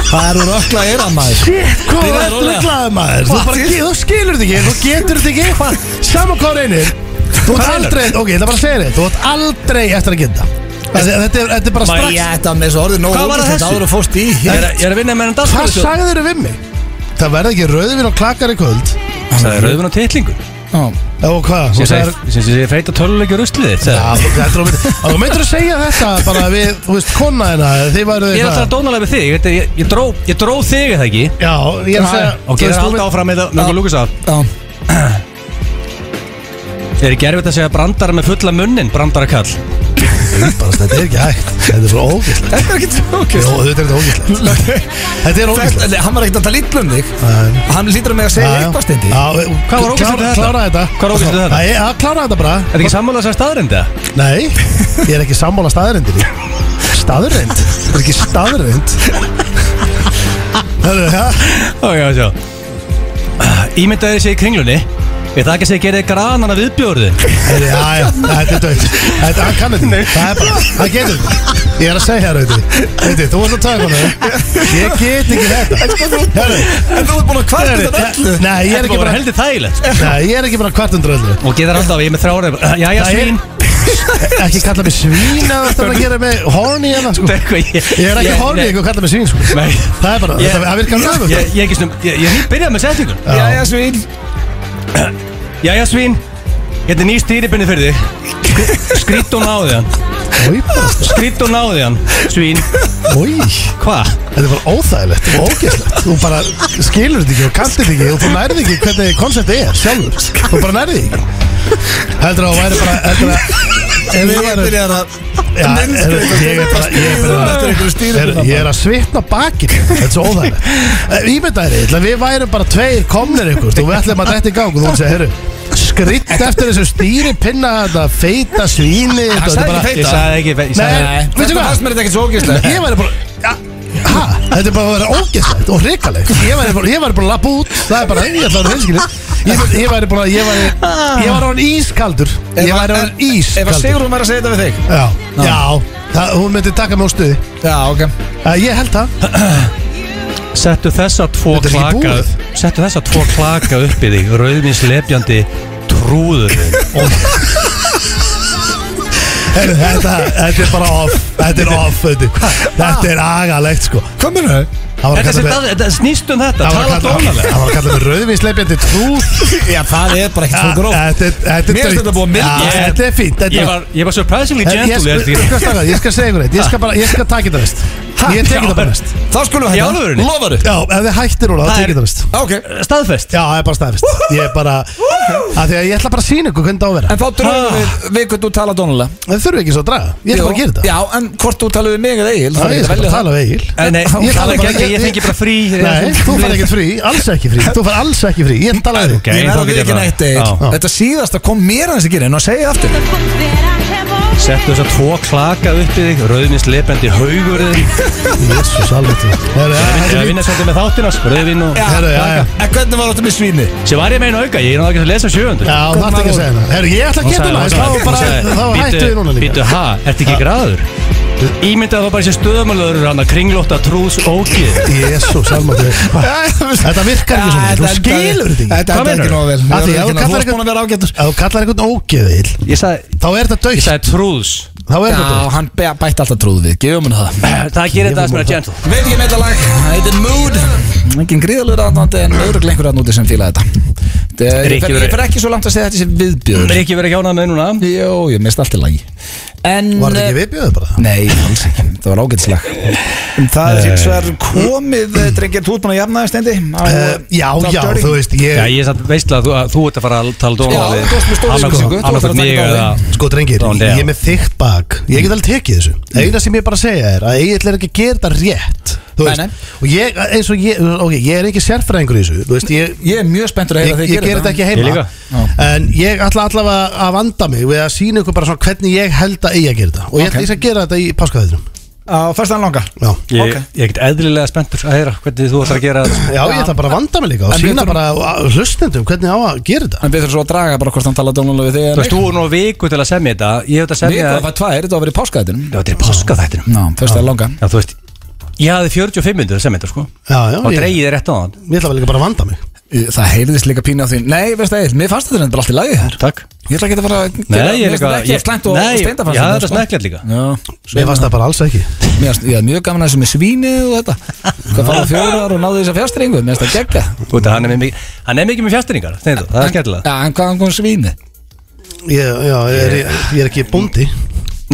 Það eru rökla að eira maður
Shit, hvað
Byrjaðu
er
rólega.
rugglaði maður? Þú
Hvað?
bara, ge- þú skilur þetta ekki, þú getur þetta ekki Saman hvað reynir Þú ert aldrei, ok, ég ætla bara að segja þetta Þú ert aldrei eftir að geta Þetta er, þetta er, þetta er bara
Ma,
strax
Já, þetta með þessu orðið nógu
Hvað var það
ógeðslegt
þessu?
áður að fórst í
Ég er, ég er að vinna með enn
Hvað
dagskóli
sagði þeirra við mig? Það verði ekki rauðvin og klakar í kvöld
Það er rauðvin og titlingur
Já.
Og hvað? Þú
Sem
sagðir-
sé feita tölvuleikja ruslið þitt
Já,
sagði.
þetta er ómynd Þú myndir að segja þetta bara við, þú veist, kona þeirna Þið væru
Ég er alltaf að dónalega við þig Ég, ég, ég, dró, ég dró þig eða ekki
Já, ég er að segja
Ok,
þú
það
veist,
er
þú
alltaf
mynd-
áfram með það Náttúrulega Lukas að
Já.
Er ekki erfitt að segja brandara með fulla munnin Brandara kall
Bara, Þetta er ekki hægt, þetta er svo ógæslega
Þetta er ekki
Jó,
tjókist
þetta er þetta ógæslega Þetta er ógæslega
Hann var ekkert að tala illa um þig
Nei.
Hann lítur að mig að segja eitthvað stendi
Hvað
var ógeðslegt við þetta?
Klára þetta
Hvað var ógeðslegt við þetta?
Nei, Já, klára þetta bara
Er ekki sammála sem staðrinda?
Nei, ég er ekki sammála staðrindinni Staðrind? Þetta er ekki staðrind Hörru, já
Ah, Ó, já, sjá Ímyndaði sér í kringlunni Ég það ekki að segja gerði granana viðbjörðin
Heyrðu, Já, já, þetta er dött Þetta hann kann þetta Það er bara, það getur Ég er að segja þér auðvitað Auðvitað, þú varst að taka hana Ég get ekki þetta Herru,
En þú ert búin að kvarta
herru,
þetta öllu
Nei, ég er
Þetta
ekki
var
bara
heldur þægilegt
Nei, ég er ekki bara kvart undir öllu
Og getur alltaf, ég er með þrára Jæja,
Það er-
svín
Ekki kalla mig svín eða þetta að gera mig horny eða sko Ég er ekki horny eitthvað að kalla mig svín sko
Nei.
Það er bara,
Ég-
þetta- það virkar lögum
Ég sko. ég ekki snum, ég, ég byrjaði með setningun
Já, já, svín
Jæja, svín Hérna er ný stýribinni fyrir þig Skrýtt og náði hann Skrýtt og náði hann Svín,
Í,
hva?
Þetta er bara óþægilegt og ógeðslegt Þú bara skilur þetta ekki og kantir þetta ekki og þú nærði ekki hvernig konceptið er sjálfur Þú bara nærði ekki Heldur að það væri bara heldur að Ef við
Ég
værum-
byrjar að
Já, heyrðu, ég er bara- ég er bara-
Þetta er einhverju stýri
Heyrðu, Ég er að svitna bakið Þetta er svo óþægilegt Ímyndaðir, við værum bara tveir komnir ykkur og við ætlum að þetta í gang og þú segir, herru skritt eftir þessu stýri pinna þetta feita svíni þetta,
Hann
þetta er
sagði
bara-
ekki
Ég
feita
sagði ekki ég sagði-
Nei, veitu
Þetta
hvað
fannst mér þetta ekkert svo ógæslega
Ég væri bara ja, ha, Þetta er bara að vera ógæstlegt og hrikalegt Ég væri bara, ég væri bara að lappa út Það er bara, ég ætla að vera hinskili Ég, væri- ég væri bara, ég væri Ég væri orðin ískaldur Ég væri orðin
Ef að
ískaldur
Sigrún var að segja þetta við þig
Já, já það, Hún myndi taka mig á stuði
Já, ok
Uh, ég held það
Settu þessa tvo
Þetta er ekki
klaka
búið.
Settu þessa tvo klaka upp í þig Rauðins lepjandi trúður
Heyrðu, þetta, þetta er bara off Þetta er off þetta, þetta er agalegt sko
Hvað minn þau?
Það var að
Þetta
kalla
sem
mig
það- þetta snýst um þetta
Það var að
Tala
kalla-
dónalega
það var að kalla mig rauðvinsleipjandi trúð
Já, það er bara ekkert
Ja,
svo gróft
Þetta er- þetta er
Mér finnst
dautt.
þetta búið að milda.
Ja,
Ég-
Þetta er fínt þetta
Ég
er-
var, ég var surprisingly
Ég, ég,
gentle í
ég,
þessu
ég, skal- ég skal segja ykkur eitt Ég skal bara, ég skal taka þetta næst Ég tek
Já,
þetta bara næst
Þá skulum
Í
við
alvörunni?
Lofar
Já, ef þið hættir úr það,
Það er-
tek ég þetta næst
Ok
Staðfest
Já, það er bara staðfist Ég er bara, að því að ég ætla bara að sína ykkur hvernig það á að vera
En þá drögum við við hvernig þú tala dónulega
Það þurfi ekki svo að draga, ég ætla bara að gera þetta
Já, en hvort þú talaðu við mig eða Egil
Já, Ég skal bara tala við Egil
Eh, Nei,
Ég
ég
tala
tala
bara-
ekki ekki, ég
ég-
fengi bara frí
Nei, þú fær ekkert frí, alls ekki frí Þú fær alls ekki frí, ég tala við
Ok.
þig
Ég
þá
verður
get ég
ekki
bara-
neitt Egil
Já.
Þetta síðasta kom mér aðeins að gera En að segja aftur
Settu þess að tvo klaka upp í þig Rauðvins lepjandi haugur í þig
Jésús, alveg til
Ég er að
Herru,
vinna svolítið með þáttina Rauðvin og
herru, já, já
En hvernig var þetta með svíni?
Sem var ég meina auka Ég er náttúrulega ekki að lesa sjöfundur
Já, það er ekki að segja það Herru, ég ætla að gera þetta næst Þá bara, þá hættu við núna líka
Býtu, ha, ertu ekki gráður? Ímyndaðu þá bara sér stöðumöluður hann að kringlótta trúðs ógið
Jésús, alveg Þetta virkar ekki svona, þú skilur þetta ekki
Þetta
Hvað
er ekki
meinarðu?
nóg vel Við
Af því,
verðum ekki nóg- Þú
ef þú kallar
varst búin að vera ágættur
einhvern- ef þú kallar einhvern ógeðil
Ég sagði,
þá er þetta
ég
dögt
sagði trúðs
þá er
Já,
þetta dögt
hann be- bætti alltaf trúð við Gefum henni það
Það gerir þetta sem er gentle
Veit ekki með þetta lag, það heitir Mood Engin gríðalur aðnandi en öðruglega einhver aðnúti sem fíla þetta Þetta er- Ég
Rikki
fer- ég
verið-
fer ekki svo langt að segja þetta sem viðbjöður
Rikki verið ekki ánað með núna
Jó, ég mist allt í lagi En eh,
var þetta ekki viðbjöðu bara
Nei, alls ekki, það var ágætslag Það er hins vegar komið, eh, drengir, þú ert búin að jafna það stendi
uh, já, já, þú veist
Já,
ég,
ég er samt veistla að þú, að þú ert að fara að tala dóna
Já, þú ert með stóra upplýsingu, þú ert að taka
Annarkvæmt mig
þetta á
eða
sko drengir,
Don't
ég
dare.
er með þykkt bak ég
Mm.
get alveg tekið þessu eina sem ég bara segja er að ég er ekki að gera þetta rétt þú
Nei,
veist,
nei.
og ég, eins og ég ok, ég er ekki sérfræðingur í þessu þú veist, ég
Ég er mjög spenntur að
Ég,
heyra þig
ég
gera
ger þetta ekki
Ég
heima
líka.
En ég ætla allavega að vanda mig Við að sína ykkur bara svona hvernig ég held að eigi að gera þetta Og ég ætla
Ok.
eins að gera þetta í páskaðinum
Á fyrstaðan langa
Já
Ég
Ok.
ég er ekkert eðlilega spenntur að heyra hvernig þú ætlar að gera þetta.
Já, ég ætla bara að vanda mig líka og
En við
sína
þurfum-
bara á- á hlustendum hvernig á að gera þetta
En við þurfum svo að draga bara hvort hann tala dónulega við þig eða
Þú veist,
ekki.
þú er nú viku til að semja þetta Ég hef þetta að
Við
semja
erum að fæða tvær, þetta var verið í páskaðinum
Já, þetta er páska þættinum
Ná, fyrstaðan langa
Já, þú veist Ég hafði 45 minnir að semja þetta, sko
Já, já,
Og
ég,
dreigið er rétt á þann
ég ætla bara líka bara að vanda mig
Það heyrðist líka pínu á því Nei, veist það, mér fannst þetta bara allt í lagi þér
Takk
Ég ætla ekki að fara að gera-
Nei, ég
mér
er
finnst
líka
þetta ekki að slæmt og
Nei,
steinda sko.
ég hafði þetta smekklegt líka
Já,
Mér fannst það bara alls ekki
mér fannst- ég hafði mjög gaman að þessu með svínið og þetta Hvað fara fjórar og náði þess að fjastringu Mér finnst það gegga
Þú veist, hann er með mikið Hann er mikið með fjastringar, þegar það er skemmtilega
Já, en hvaðan kom svínið?
ég, Já, ég er, ég er ekki bóndi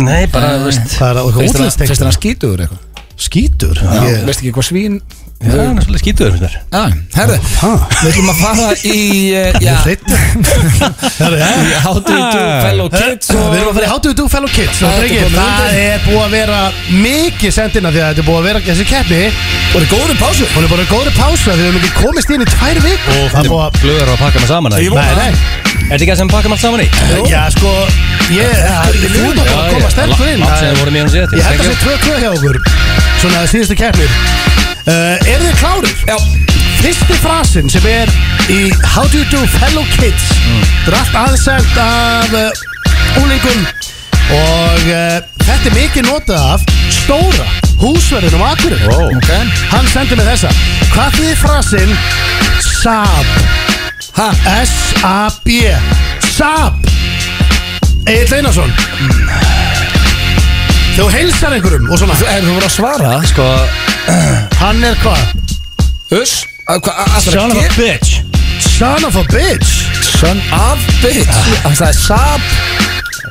Nei, bara, þú veist
Það er eitthvað
Fyrst hann- fyrst
útlýstengt
hann skítugur eitthvað
Skítur
Já,
Ég-
veist ekki hvað svín
Já, hann er svolítið um skítuður, finnst þér
Já, herðu, við ætlum að fara í eh,
Ég
Já,
er hreitt
How do you do fellow kids og-
Ah. Við erum að fara í How do you do fellow kids og
Það er
drengir,
komið
Það
undir.
er búið að vera mikið sendina því að þetta er búið að vera þessi keppni
Voru góður pásu
Hún er bara í góðri pásu að við höfum ekki komist inn í tvær vik og það er búið að
Flugur að pakka með saman eða?
Ég vona
Nei, nei. Er þetta ekki að sem pakka með allt saman í?
Já sko Ég er búin að koma sterkur inn
Látt sem við
Það er-
vorum í hún sér
Ég held að sé 2-2 hjá okkur Svona síðustu keppnir uh, Er þið klárir?
Já.
Þið Fyrsti frasinn sem er í How do you do fellow kids Þetta er allt aðsend af uh, úlingum Og uh, þetta er mikið notað af Stóra húsverðinum Akurir
Ó. Ok.
Hann sendi mig þessa Hvað þið frasinn Saab
Ha?
S-A-B Saab Egil Einarsson Þegar þú heilsar einhverjum og svona
Er þú voru að svara?
Sko,
Hann er hvað?
Uss? Að- hvað- að- að-
son of a
að-
bitch
Son of a bitch
Son of bitch Hann sagði sab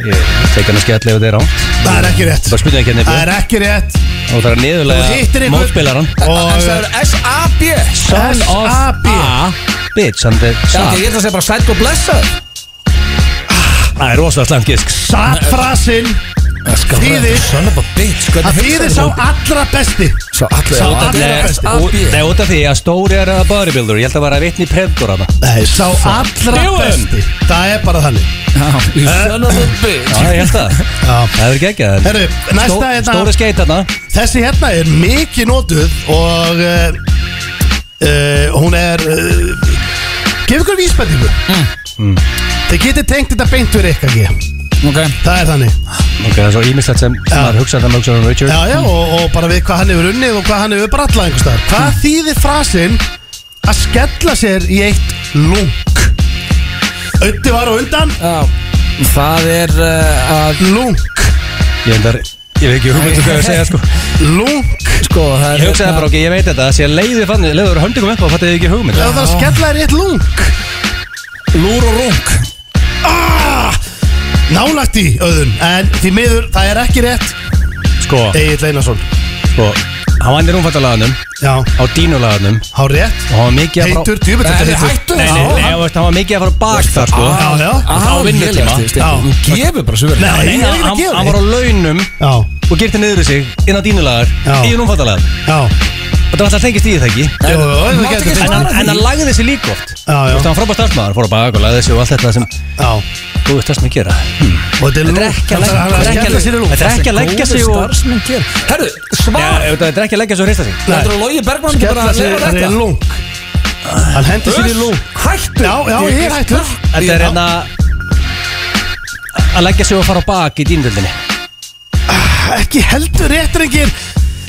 Ég tek hann að skella ef þetta er á
Það er ekki rétt
Bara spytum ekki henni
Það er ekki rétt
Og það er
Þú hittir
niðurlega
einhvern-
mótspilaran
Hann
Og uh,
sagði S-A-B
Son of
S.A.B..
a bitch Hann er Ah,
Já,
sa
ok, Ég ætla að segja bara sætt og blessa
Það er rosalega slæmt gisk
Saab-frasinn Þýðir-
Son of a bitch
Það þýðir sá allra besti
Sá allir
Sá
allir-
allra
Nei,
besti.
ú-
S.A.B..
nei, út af því að Stóri er að bodybuilder Ég held að vera að vitni prevdur hana
Nei, sá allra
Djúum.
besti Það er bara þannig
Já, Son of a bitch
Já, ég held að
Já.
Það hefur geggjað en-
Herru, næsta
Stó-
hérna-
Stóri skeit hana
Þessi hérna er mikið notuð og uh, uh, hún er uh, Gef ykkur vísbendingu mm. Þið getið tengt þetta beint við Rikka G
Ok
Það er þannig
Ok, það er svo ímislegt sem sem maður hugsa Þannig hugsa um Richard
Já, já, og, og bara við hvað hann hefur unnið og hvað hann hefur brallað einhvers staðar Hvað þýðir frasinn að skella sér í eitt lúk? Ötti var á undan
Já Það er uh, að
Lúk,
Ég endar Ég veit ekki hugmyndu hvað ég á að segja sko
lúk
Sko, það er
Ég hugsaði bara, ok, ég veit þetta Sér leiði fann, leiður höndingum upp og fattið þið ekki hugmynd
Það var að skella þér í eitt lúk
Lúr og rung
Ah! Nálægt í öðun, en því miður, það er ekki rétt
Sko,
Egil Einarsson
sko Hann vannir umfattalaganum
Já,
Á dínulaganum Og
hár rétt
hann var mikið að fara
Heitur, djúvill
Er
þetta
þið
heitur Ah,
hættu?
Nei, nei, nei, nei, veist, hann var mikið að fara bak þar sko
Já, já
þá vinnur tíma.
Þú gefur bara sögur
Nei,
Nei,
ég
hann,
er ekki að
hann,
gefa
hann var á
þig
launum
Já,
og girti niður í sig inn á dínulagar
Já.
í umfattalagan
já
Og það var alltaf tengist í það ekki
Jú, jú, jú,
Máttu
það
ekki
getur
En
svara?
þetta
hann, en hann lagði þessi líka oft Þú
Já, já
veist, hann frábæð starfsmæður Fór að baka og lagði þessi og allt þetta sem
Já,
Þú veist það sem ég gera
og þetta er
Þetta er ekki að leggja- þetta er ekki að-
lúk Hann er að skella sér í lúk
þetta er ekki að leggja sig og
starfsmenn ger Herru,
Já,
svar
auðvitað, Þetta er ekki að leggja svo hrista sig
Þetta er Lógi Bergman ekki bara
Skella
að
sér,
lefa
það er
þetta
lúk Hann hendi sér í
Uss,
lúk
Hættu
Já, já, ég er hættur
Þetta er
Já.
hérna að leggja sig og fara á bak í dýndöldinni
Ekki heldur rétt, rengir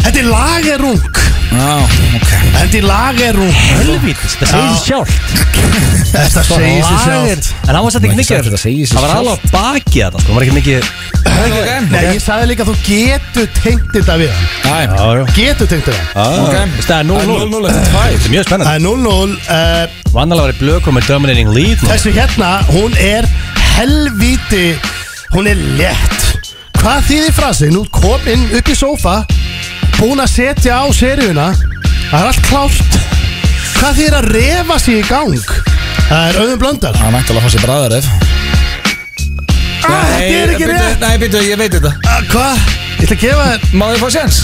Þetta er lagerung
Já, ok
Þetta er lagerung
Helvítis, það segir sér sjálft
Þetta segir sér
Lager.
sjálft
En hann var satt ekki
Nei,
mikið
sagt, þetta segir sig
Það var
sjálft.
alveg á baki þetta sko, hann var ekki mikið
Ok,
Nei, ég sagði líka að þú getur tengt þetta við hann
Æ,
Já, já
Getur tengt þetta
Ok.
Það er 0-0
0-0 eftir tvær.
Þetta er mjög
Það
spennandi
er 0-0 uh,
Vannalega verið blöku með dominating lead nú.
Þessi hérna, hún er helvíti Hún er létt Hvað þýðir frasi? Nú kom inn upp í sófa Búin að setja á seríuna Það er allt klárt Hvað þýðir að refa sig í gang? Það er auðum blöndar
Það mætti alveg að fá sér bræðar ef
ah, Þetta er ekki rétt
Nei, býttu, ég veit þetta
Ah, Hvað? Ég ætla að gefa þér
Má ég fá séns?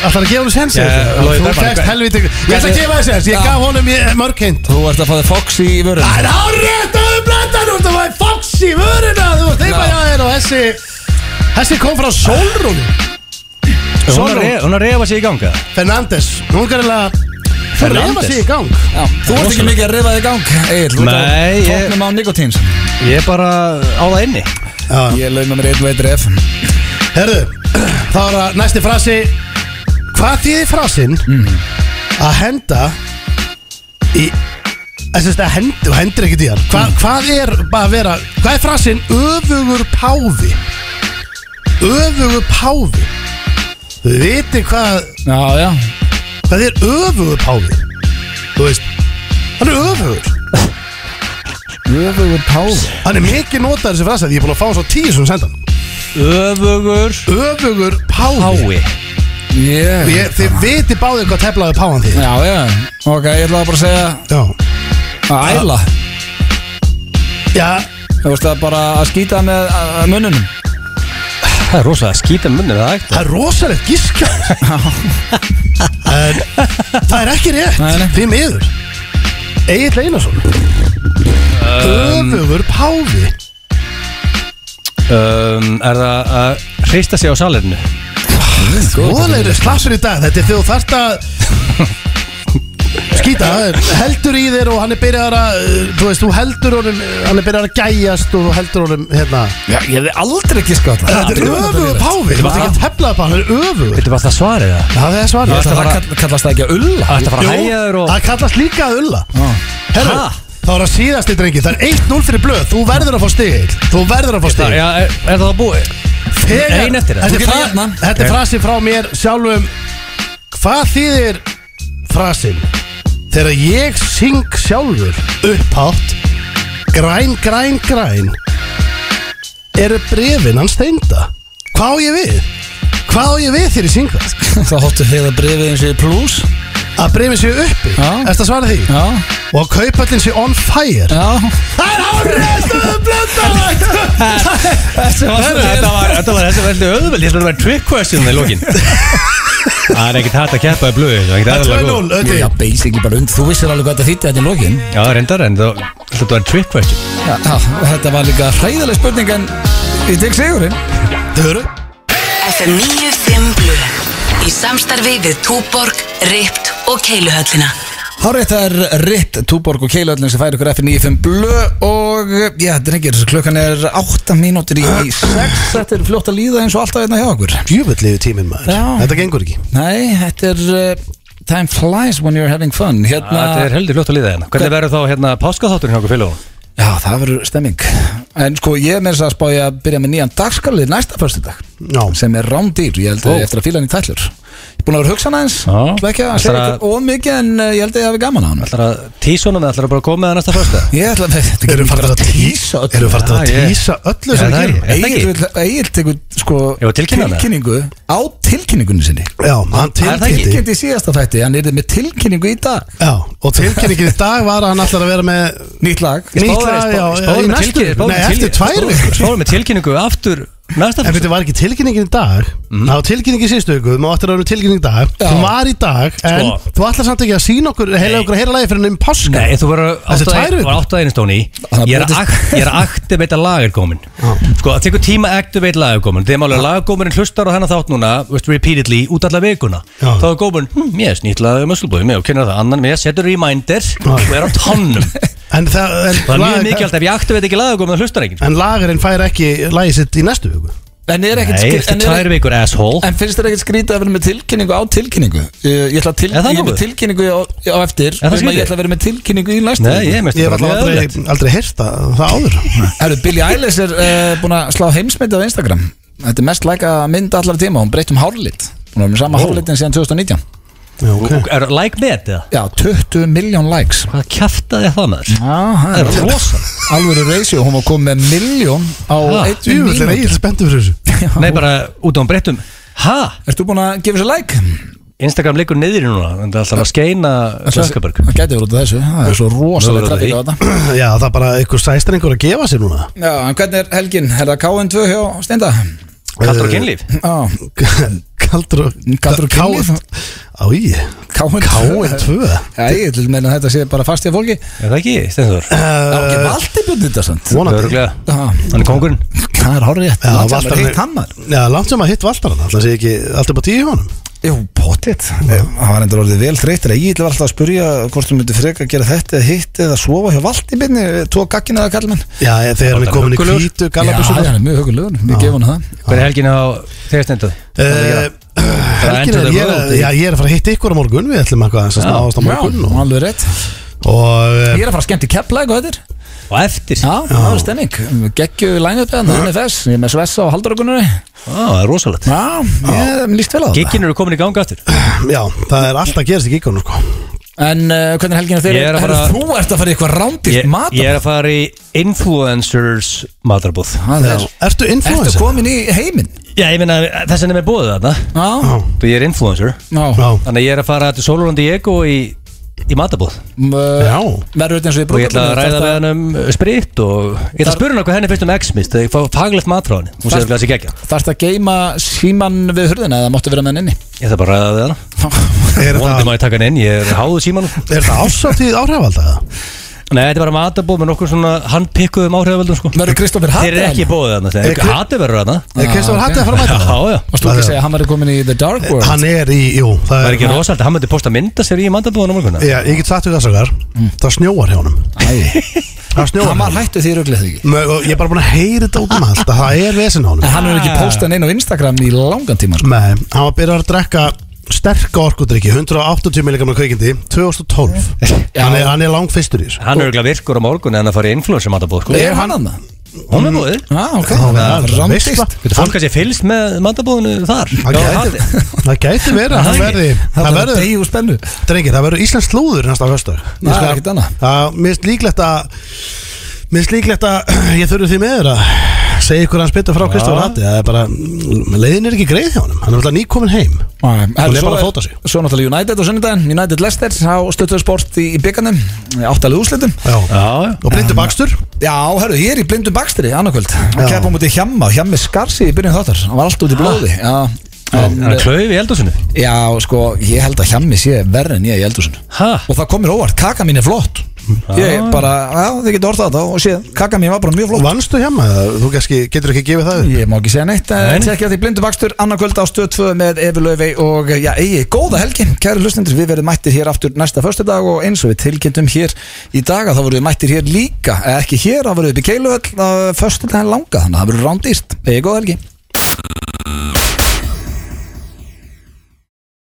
Það að gefa hún sens
Já, Logi
Þú
Bergmann,
tekst
hvað-
helvíti Ég ætla að gefa þér sens Ég
Já.
gaf honum ég- mörg hint
Þú ert að fá þig Fox í vörun
Það er árétt á um blöndar Þú ert að fæði fox í vöruna Þú ert
Já.
þeimma hjá þér og þessi Þessi kom frá Solrún
Hún er að
Solrún
re- Hún er að refa sig í ganga
Fernandes Hún er alveg Hún reyna sig í gang
Já, þú ert ekki
Rosalega.
mikið að reyfa þig í gang Egil, þú ert
Nei,
að
ég-
tóknum á nikotín
Ég er bara á það inni
Já.
Ég launa mér einn veitur ef
Herðu Þá er það næsti frasi Hvað þýðir frasin Að henda Í Þessi að henda Þú hendir ekkert í hann Hva, Hvað er bara að vera Hvað er frasin Öfugur páfi Öfugur páfi Þú veitir hvað
Já, já
Hvað er öfugur páfi? Þú veist, hann er öfugur
Öfugur páfi
Hann er mikið notaður þessi frasa Því ég er búin að fá hann svo tíu sem senda hann
Öfugur
Öfugur páfi
Hái
Ég
Ég, Þið viti báðið hvað teflaði páfan því
Já, já Ok, ég ætlaði bara að segja
Já
að æla
Já,
Þú veist að bara að skýta með uh, munnunum
Það er rosalega að skýta munni Það er ekkert
það er rosalegt gíska En það er ekki rétt
Nei, nei.
Því miður Egil Einarsson Öfugur páfi
um, Er það að hrista sig á salirinu
Góðlegri slagsur í dag Þetta er þegar þú þarft að skýta heldur í þér og hann er byrjar að uh, þú veist, þú heldur honum uh, hann er byrjar að gæjast og þú heldur honum hérna
Já, ég hefði aldrei ekki skátt
Þetta er öfugur páfi, þú mátt ekki tefla upp hann, hann er öfugur
Þetta var það svarið það
Það er svarið
Það kall- kallast það ekki að ulla
Þetta var
Jú,
hægjaður og
Það kallast líka að ulla Herru,
Ha?
þá er það síðasti drengi Það er 1-0 fyrir blöð, þú verður að fá stig Þú verður að fá stig
Já, er, er það búið?
Þegar-
Ein eftir það.
Þetta
Þú
er
getur
fra-
hérna.
Þetta er
Ok.
frasi frá mér sjálfum Hvað þýðir frasin Þegar ég syng sjálfur upphátt Græn, græn, græn Eru brefin hans steinda Hvað á ég við? Hvað á ég við þegar ég syng það?
Þá hóttu heiða brefið eins og í plus
Að brefin séu uppi
Já.
Ertu að svara því?
Já,
Og að kaupallin sé on fire
já
Það er áriðstöðu blönda
Þetta var, þetta var, þetta var heldur öðvöld Ég ætla að vera trick question í lokin Það er ekkert hægt að keppa í blöðu Það er ekkert
Það er
aðalega góð
2-0
Jú,
Öddi.
já, basically bara und Þú vissir alveg hvað þetta þýtti þetta í lokin
Já, reyndar, en það þetta var trick question
Já, já, þetta var líka hræðileg spurning en ég tek sigurinn
Þau eru
FM 95 Blu Í samstarfi við Túborg, Ript og Keiluhöllina
Hárið það er Ritt, Túborg og Keilöldin sem færi ykkur F95 blö og já, drengir, klukkan er 8 mínútur í 6 Þetta er fljótt að líða eins og alltaf hérna hjá okkur
Djúvöldliðu tíminn maður
Já.
Þetta gengur ekki
Nei, þetta er uh, Time flies when you're having fun
Já, Þetta er
Hérna,
heldur ljótt að liða hérna Hvernig verður þá hérna páskaþátturinn hjá okkur félagunum?
já, það verður stemming En sko, ég er með þess að spá ég að byrja með nýjan dagskalið næsta föstudag
Já.
sem er rándýr, ég held að ég eftir að fíla hann í tællur Ég er búin að vera að hugsa hann aðeins
Já.
Ætla ekki að segja
Ætlarðu að-
eitthvað of mikið en uh, ég held að ég hafi gaman á hann
Ætlar að tísunum eða ætlar að bara koma með það næsta fyrsta?
Ég ætla að þetta
Erum við farin að tísa öllu? Erum við farin
Já,
að
ég-
tísa öllu sem
Já,
við
það er
gerum?
ég. það ekki?
Egil tekur sko
Jú, tilkynna hana.
tilkynningu á tilkynningunni sinni
Já, hann
Hann
það ekki?
tilkynnti
tilkynnti í síðasta þætti, hann er með tilkynningu í dag
Já, og tilkynningin í dag var að hann ætlar að vera með
Nýtt lag
Nýtt
Spáðu-
lag, já,
spáðu
já, í
með
næstu
tilkynningu- spáðu
Nei,
með
eftir
tilkynningu-
tvær vikur.
Spáðu með tilkynningu aftur næsta
En
fyrsta
þetta var ekki tilkynningin í dag
Mhm.
Það var tilkynningin í síðustu ykkur Má ættir að vera með tilkynningin í dag
Já.
Hún var í dag En
Sko.
þú ætlar samt ekki að sína okkur Heila okkur að heyra lagi fyrir henni um páska
Nei, þú voru
Þetta er tvær vikur.
áttaðinu stóni
Það
Ég er
brotist-
að act- ég er að activate að lag er komin Sko, það tekur tíma að activate lag er komin Þegar málega lagagómurinn hlustar á hennar þátt núna veist, Repeatedly, út alla vikuna
Já.
Þá er gómurinn, hm, ég er snýtt lag Mösslubói, mér og kynna það annan Mér setur reminder og er á tannum Það
En það
er
en
mjög
lag-
mikilvægt Ef ég activate ekki lagagómurinn, það hlustar ekki
En lagarinn fær ekki lagi sitt í næstu viku
En er ekkert
Nei,
skri-
eftir
en er-
tvær vikur, asshole
En finnst þér ekkert skrítið að vera með tilkynningu á tilkynningu? Ég, ég ætla að til,
Er það
ég er með
nógu?
tilkynningu á, á eftir
Er það
um að
skrítið?
Ég ætla að vera með tilkynningu í næstu
Nei, ég
Ég
mest
hef alltaf aldrei, aldrei heyrt það, það áður
Herru, Billie Eilish er uh, búin að slá heimsmyndið á Instagram Þetta er mest læka mynd allar tíma Hún breytt um hárlit Hún er með sama
Ó.
oh. hárlitin síðan 2019
Já, ok.
Er like met eða?
Já, 20 miljón likes
Hvað kjaftaði það maður?
Já, það
Það er rosa
Alvöru reisjó, hún var komið með miljón á
Ha,
einni
Djúvill er
mínútu.
eigin spenntur fyrir þessu
Nei, bara út á um breyttum Ha?
Ertu búin að gefa sér like?
Instagram liggur niður núna en það er alltaf að skeina Sökkaberg
Það gæti verið út af þessu Það er svo
Mögulega
rosalega trafík á
því.
þetta
Já, það er bara einhver sæstrengur að gefa sér núna
Já, en hvernig er helgin? Er það KN2 hjá Steinda?
Kallar og kynlíf
Já,
Kaldur og
Kaldur og kynlíf.
Á í
KN2
KN2
Já, ég vil meina að þetta sé bara fast í fólki
Er það ekki, Stenþór?
Já, ekki valdi björn þetta sant
Uh, Vonandi
Öruglega
Já,
Hann er kongurinn
það er hárið rétt
Já,
Langt sem
Valtar-
maður hitt hann maður
Já, langt sem að hitt Valtar hann Alltaf sé ekki alltaf bara tíu í honum
Jú, pottitt Það var endur orðið vel þreytir Ég ætla alltaf að spurja hvort þú myndir freka að gera þetta eða hitt eða sofa hjá valdi björni Tóa gaggin eða kallmenn
Já, ég- þegar hann er komin í
huggulegur.
kvítu
Já,
galabusur
hann er mjög hugulegur, við gefum hann það
Hver er helgin á þegar Stenþór?
Helgin
Enter
Eh, er,
the
ég
world.
er- já, ég er að fara að hitta ykkur á morgun Við ætlum eitthvað aðeins að snáðast á morgun og-
alveg rétt
Og eh,
Ég er að fara skemmt í kepplæk og þetta er
Og eftir
Já, það var stemning Gekkju í lænjöfið hann, hann er fess Ég er með Svessa og Halldóragunari Já,
Á, það er rosalegt
ég er líst vel á það
Giggin eru komin í ganga aftur
já, það er alltaf að gerast í gíkunum sko.
En uh, hvernig er helginu þeir
Ég er að fara-
Þú ert að fara í eitthvað
ég,
rándilt
ég
matar
er að fara í Influencers matarbúð
Það
Já.
er
Ertu
Ertu
influencer?
komin í heiminn?
Já, ég meina þess að nefnir bóðið þarna
Já,
Og Ég er influencer
já
Já,
Þannig að ég er að fara til Solon Diego í, í matarbúð
Já
já
eh, Verður þetta eins og ég
Og ég ætla að
brúðkaupinu,
ræða við hann um sprit og ég ætla að spura hann hvað henni finnst um X-mist þegar ég fá faglegt mat frá henni. Hún segir að það sé geggja.
þarftu- Þarftu að geima síman við hurðina eða máttu vera með hann inni?
Ég ætla bara að ræða við hann.
Er
Vonandi
það,
má ég taka hann inn, ég er háðu síman.
Ah,
er það ásáttíð áhrifald að það?
Nei, þetta er bara matabóð með nokkur svona handpikkuðum áhrifavöldum sko
Verður Kristoffer Hatta
Þeir eru ekki
þarna?
bóðið hann
Er Kri-
Hati verður hann
Er Kristoffer
Ah,
Hatt
ok.
að fara að mæta?
Já, já
Varst þú ekki að segja að hann verður komin í The Dark World?
Hann er í, jú
Það er ekki
já,
rosaldi, hann myndi posta mynda sér í matabóðan á morgunna
Ég get sagt við það sakar
Mm.
Það snjóar hjá honum
Æ,
Það snjóar
hann var
hjá honum.
hættu því ruglið þegar ekki
Mö- og Ég er bara búin að heyra þetta út um allt að Það er vesen á honum
En hann hefur
Ah.
ekki postað neina á Instagram í langan tíma sko.
Nei, hann var byrjað að drekka sterka orkudrykki 180 mg kveikindi 2012 hann, er, hann er langfistur í þessu
Hann er auðvitað virkur á morgunna en að fara í influencer matabóð sko
Er hann annað?
Hún er bóðið
Já, ok
Já, það er veistla.
Randist
Getur fólk að sé fylgst með matabóðinu þar Já,
Það gæti,
Hati.
það gæti verið að hann
Það
verði
Það
Það
er
verður,
degi úr spennu
drengir, það verður Íslands slúður næsta föstudag.
Það
Ég
er
skal-
ekkert annað.
Það- Mér finnst líklegt að Mér finnst líklegt að ég þurfi því meður að segja ykkur hans betur frá Kristofur Hatti Það er bara, mm, leiðin er ekki greið hjá honum Hann er alltaf nýkomin heim
Herru,
Hún er
svo
bara að fóta sig.
Svo náttúrulega United á sunnudaginn United Leicester á stöttuðu sport í, í byggarnum Áttalegu úrslitum
Já.
Já, já
Og blindu bakstur
Já, herru, ég er í blindu bakstri annarkvöld Hann
Já.
kemur mútið hjemma Hjemmi skarsi í byrjun þáttar Hann var allt út í blóði Já,
Ah.
en,
Hann er klauð í eldasinu
já sko, ég held að hjemmi sé verri en ég í eldhúsinu
Ha?
Og það komir óvart, kaka mín er flott Ég bara, já, þið getur orðað þetta og séð Kaka mín var bara mjög flott
Vannstu hjá maður, þú kannski getur ekki gefið það upp
Ég má ekki segja neitt
Nei.
en tekja því blindu bakstur annarkvöld á stöð 2 með Efi Laufey og eh, já, eigi, góða helgi, kæri hlustendur við verðum mættir hér aftur næsta föstudag og eins og við tilkynntum hér í dag að þá verðum við mættir hér líka, Eh, ekki hér þá verðum við upp í Keiluhöll að föstudaginn langa þannig að það verður rándýrt, eigi, góða helgi